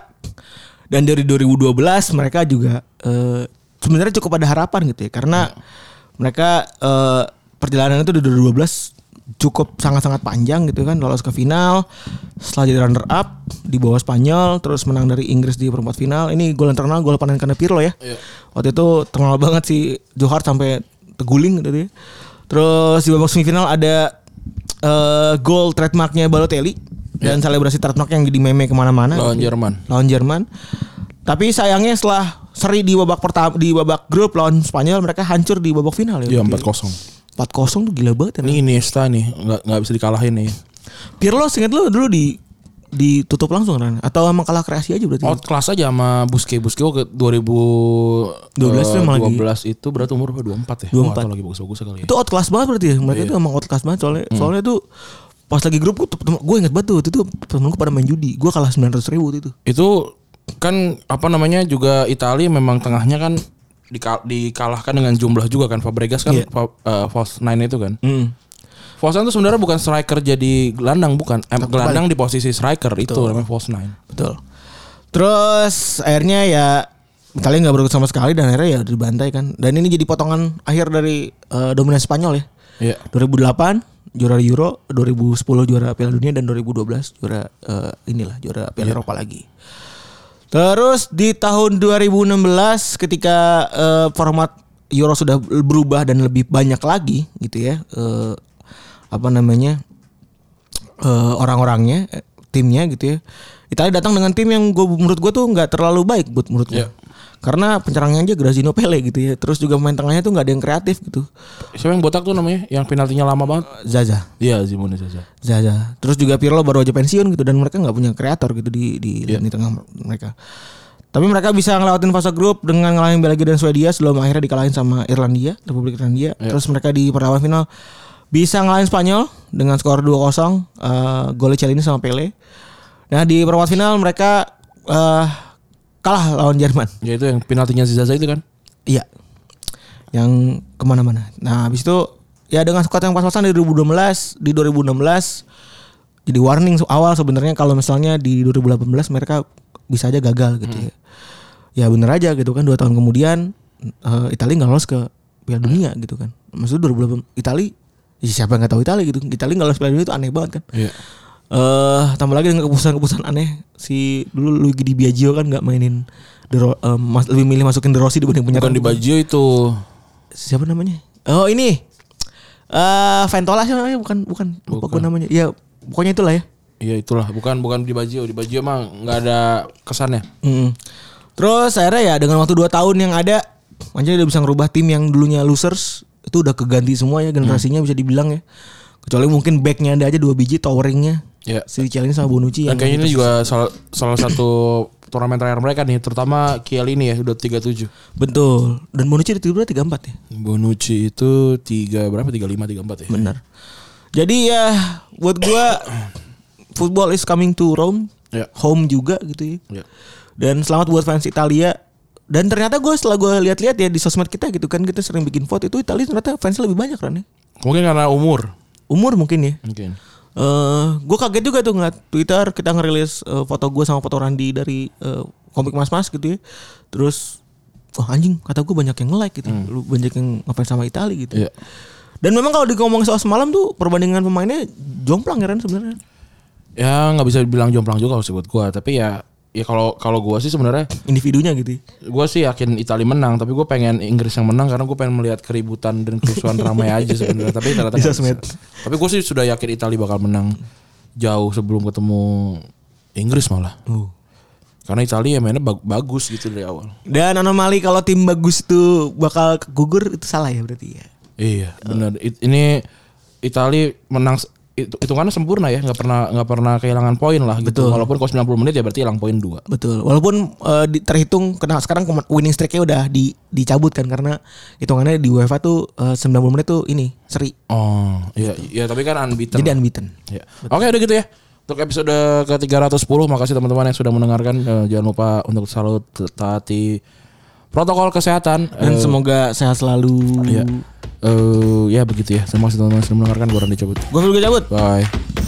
[SPEAKER 3] Dan dari 2012 mereka juga eh, sebenarnya cukup ada harapan gitu ya karena mereka eh, perjalanannya itu dari 2012 cukup sangat-sangat panjang gitu kan lolos ke final setelah jadi runner up di bawah Spanyol terus menang dari Inggris di perempat final ini gol yang terkenal gol panen karena Pirlo ya waktu itu terkenal banget si Johar sampai teguling gitu ya terus di babak semifinal ada eh, gol trademarknya Balotelli dan selebrasi trademark yang jadi meme kemana-mana
[SPEAKER 2] Iya. lawan Jerman
[SPEAKER 3] lawan Jerman. Tapi sayangnya setelah seri di babak pertama di babak grup lawan Spanyol mereka hancur di babak final ya.
[SPEAKER 2] Iya empat kosong.
[SPEAKER 3] 4-0 tuh gila banget ya.
[SPEAKER 2] Ini Iniesta nih nggak nggak bisa dikalahin nih.
[SPEAKER 3] Pirlo singkat lu dulu di ditutup langsung Ran atau emang kalah kreasi aja berarti.
[SPEAKER 2] Out Oh, kelas aja sama Buske Buske ke 2012
[SPEAKER 3] 12 tuh emang lagi-
[SPEAKER 2] 12 itu berarti umur berapa? 24 ya.
[SPEAKER 3] 24.
[SPEAKER 2] Wah, atau lagi bagus-bagus kali ya.
[SPEAKER 3] Itu out kelas banget berarti ya. Mereka
[SPEAKER 2] Iya.
[SPEAKER 3] itu emang out kelas banget soalnya
[SPEAKER 2] Hmm.
[SPEAKER 3] soalnya tuh pas lagi grup gue, gue inget banget tuh waktu itu temen gue pada main judi gue kalah 900 ribu waktu itu
[SPEAKER 2] Itu kan apa namanya juga Italia memang tengahnya kan dika- dikalahkan dengan jumlah juga kan Fabregas kan
[SPEAKER 3] Iya.
[SPEAKER 2] fa- eh, false nine itu kan. False nine itu sebenarnya bukan striker jadi gelandang bukan. Em, gelandang di posisi striker itu namanya false nine.
[SPEAKER 3] betul terus akhirnya ya Italia nggak berikut sama sekali dan akhirnya ya dibantai kan dan ini jadi potongan akhir dari eh, dominasi Spanyol ya
[SPEAKER 2] Iya.
[SPEAKER 3] 2008 juara Euro, 2010 juara Piala Dunia dan 2012 juara eh, inilah juara Piala Eropa lagi. Terus di tahun 2016 ketika eh, format Euro sudah berubah dan lebih banyak lagi gitu ya. eh, apa namanya? eh, orang-orangnya, eh, timnya gitu ya. Italia datang dengan tim yang gua, menurut gue tuh nggak terlalu baik buat menurut gue.
[SPEAKER 2] Iya.
[SPEAKER 3] Karena penyerangnya aja Graziano Pele gitu ya. Terus juga main tengahnya tuh nggak ada yang kreatif gitu.
[SPEAKER 2] Siapa yang botak tuh namanya? Yang penaltinya lama banget.
[SPEAKER 3] Zaza.
[SPEAKER 2] Iya, Simone saja.
[SPEAKER 3] Zaza. iya. Terus juga Pirlo baru aja pensiun gitu dan mereka nggak punya kreator gitu di di lini tengah mereka. Tapi mereka bisa ngelewatin fase grup dengan ngalahin Belgia dan Swedia sebelum akhirnya dikalahin sama Irlandia, Republik Irlandia. Terus mereka di perlawanan final bisa ngalahin Spanyol dengan skor 2-0 eh golnya Cellini sama Pele. Nah, di perempat final mereka eh kalah lawan Jerman.
[SPEAKER 2] Ya itu yang penaltinya si Zaza itu kan.
[SPEAKER 3] Iya. Yang kemana-mana. Nah habis itu ya dengan squad yang pas-pasan di 2012, di 2016 jadi warning se- awal sebenarnya kalau misalnya di 2018 mereka bisa aja gagal gitu ya. Ya bener aja gitu kan dua tahun kemudian eh, Italia nggak lolos ke Piala Dunia gitu kan. Maksudnya 2018 Italia ya siapa yang nggak tahu Italia gitu. Italia nggak lolos Piala Dunia itu aneh banget kan.
[SPEAKER 2] Iya.
[SPEAKER 3] Eh, tambah lagi dengan keputusan-keputusan aneh si dulu Luigi Di Biagio kan nggak mainin De Ro- eh, mas- lebih milih masukin De Rossi dibanding
[SPEAKER 2] Bukan
[SPEAKER 3] penyerang
[SPEAKER 2] di Baggio itu.
[SPEAKER 3] siapa namanya? Oh ini. Eh Ventola siapa namanya? Bukan bukan lupa gue namanya. Ya pokoknya itulah ya.
[SPEAKER 2] Iya itulah, bukan bukan di Baggio, di Baggio mah nggak ada ya? kesannya.
[SPEAKER 3] Mm. Terus akhirnya ya dengan waktu 2 tahun yang ada Anjay udah bisa ngerubah tim yang dulunya losers itu udah keganti semua ya generasinya
[SPEAKER 2] Mm.
[SPEAKER 3] bisa dibilang ya. Kecuali mungkin backnya ada aja dua biji towering-nya.
[SPEAKER 2] Iya.
[SPEAKER 3] Si Cialini sama Bonucci
[SPEAKER 2] Dan
[SPEAKER 3] yang
[SPEAKER 2] kayaknya ini juga salah, salah satu turnamen terakhir mereka nih, terutama Kiel ini ya udah 37.
[SPEAKER 3] betul. Dan Bonucci di tiga empat ya.
[SPEAKER 2] Bonucci itu 3 berapa? 35 34 ya.
[SPEAKER 3] Benar. Jadi ya buat gua football is coming to Rome.
[SPEAKER 2] Iya.
[SPEAKER 3] Home juga gitu ya.
[SPEAKER 2] Iya.
[SPEAKER 3] Dan selamat buat fans Italia. Dan ternyata gue setelah gue lihat-lihat ya di sosmed kita gitu kan kita sering bikin vote itu Italia ternyata fans lebih banyak kan ya.
[SPEAKER 2] Mungkin karena umur.
[SPEAKER 3] Umur mungkin ya.
[SPEAKER 2] Mungkin.
[SPEAKER 3] Eh, gue kaget juga tuh ngeliat Twitter kita ngerilis eh, foto gue sama foto Randi dari eh, komik Mas Mas gitu ya. Terus wah anjing kata gue banyak yang like gitu. Lu banyak yang ngefans sama Italia gitu.
[SPEAKER 2] Iya.
[SPEAKER 3] Dan memang kalau ngomong soal semalam tuh perbandingan pemainnya jomplang ya Ren sebenarnya.
[SPEAKER 2] Ya nggak bisa dibilang jomplang juga sih buat gua, tapi ya ya kalau kalau gua sih sebenarnya
[SPEAKER 3] Individunya gitu. ya.
[SPEAKER 2] gua sih yakin Italia menang, tapi gua pengen Inggris yang menang karena gua pengen melihat keributan dan kerusuhan ramai aja sebenarnya. Tapi ternyata
[SPEAKER 3] Di
[SPEAKER 2] nggak
[SPEAKER 3] sosmed.
[SPEAKER 2] bisa. Tapi gua sih sudah yakin Italia bakal menang jauh sebelum ketemu Inggris malah.
[SPEAKER 3] Oh.
[SPEAKER 2] Karena Italia mainnya bag- bagus gitu dari awal.
[SPEAKER 3] Dan anomali kalau tim bagus itu bakal gugur itu salah ya berarti ya.
[SPEAKER 2] Iya, benar. It- ini Italia menang s- itu hitungannya sempurna ya, nggak pernah nggak pernah kehilangan poin lah gitu. Walaupun kalau 90 menit ya berarti hilang poin dua.
[SPEAKER 3] Betul. Walaupun eh, di- terhitung kena sekarang kema- winning streak-nya udah di, dicabut kan karena hitungannya di UEFA tuh eh, 90 menit tuh ini seri.
[SPEAKER 2] Oh, iya, iya tapi kan unbeaten.
[SPEAKER 3] Jadi unbeaten.
[SPEAKER 2] Ya. Oke udah gitu ya. Untuk episode ke-310 makasih teman-teman yang sudah mendengarkan. Eh, jangan lupa untuk selalu taati protokol kesehatan.
[SPEAKER 3] Dan
[SPEAKER 2] Eh,
[SPEAKER 3] semoga sehat selalu.
[SPEAKER 2] ya. Eh, ya begitu ya. Terima kasih teman-teman yang sudah mendengarkan. Gue Randy cabut.
[SPEAKER 3] Gue juga cabut.
[SPEAKER 2] Bye.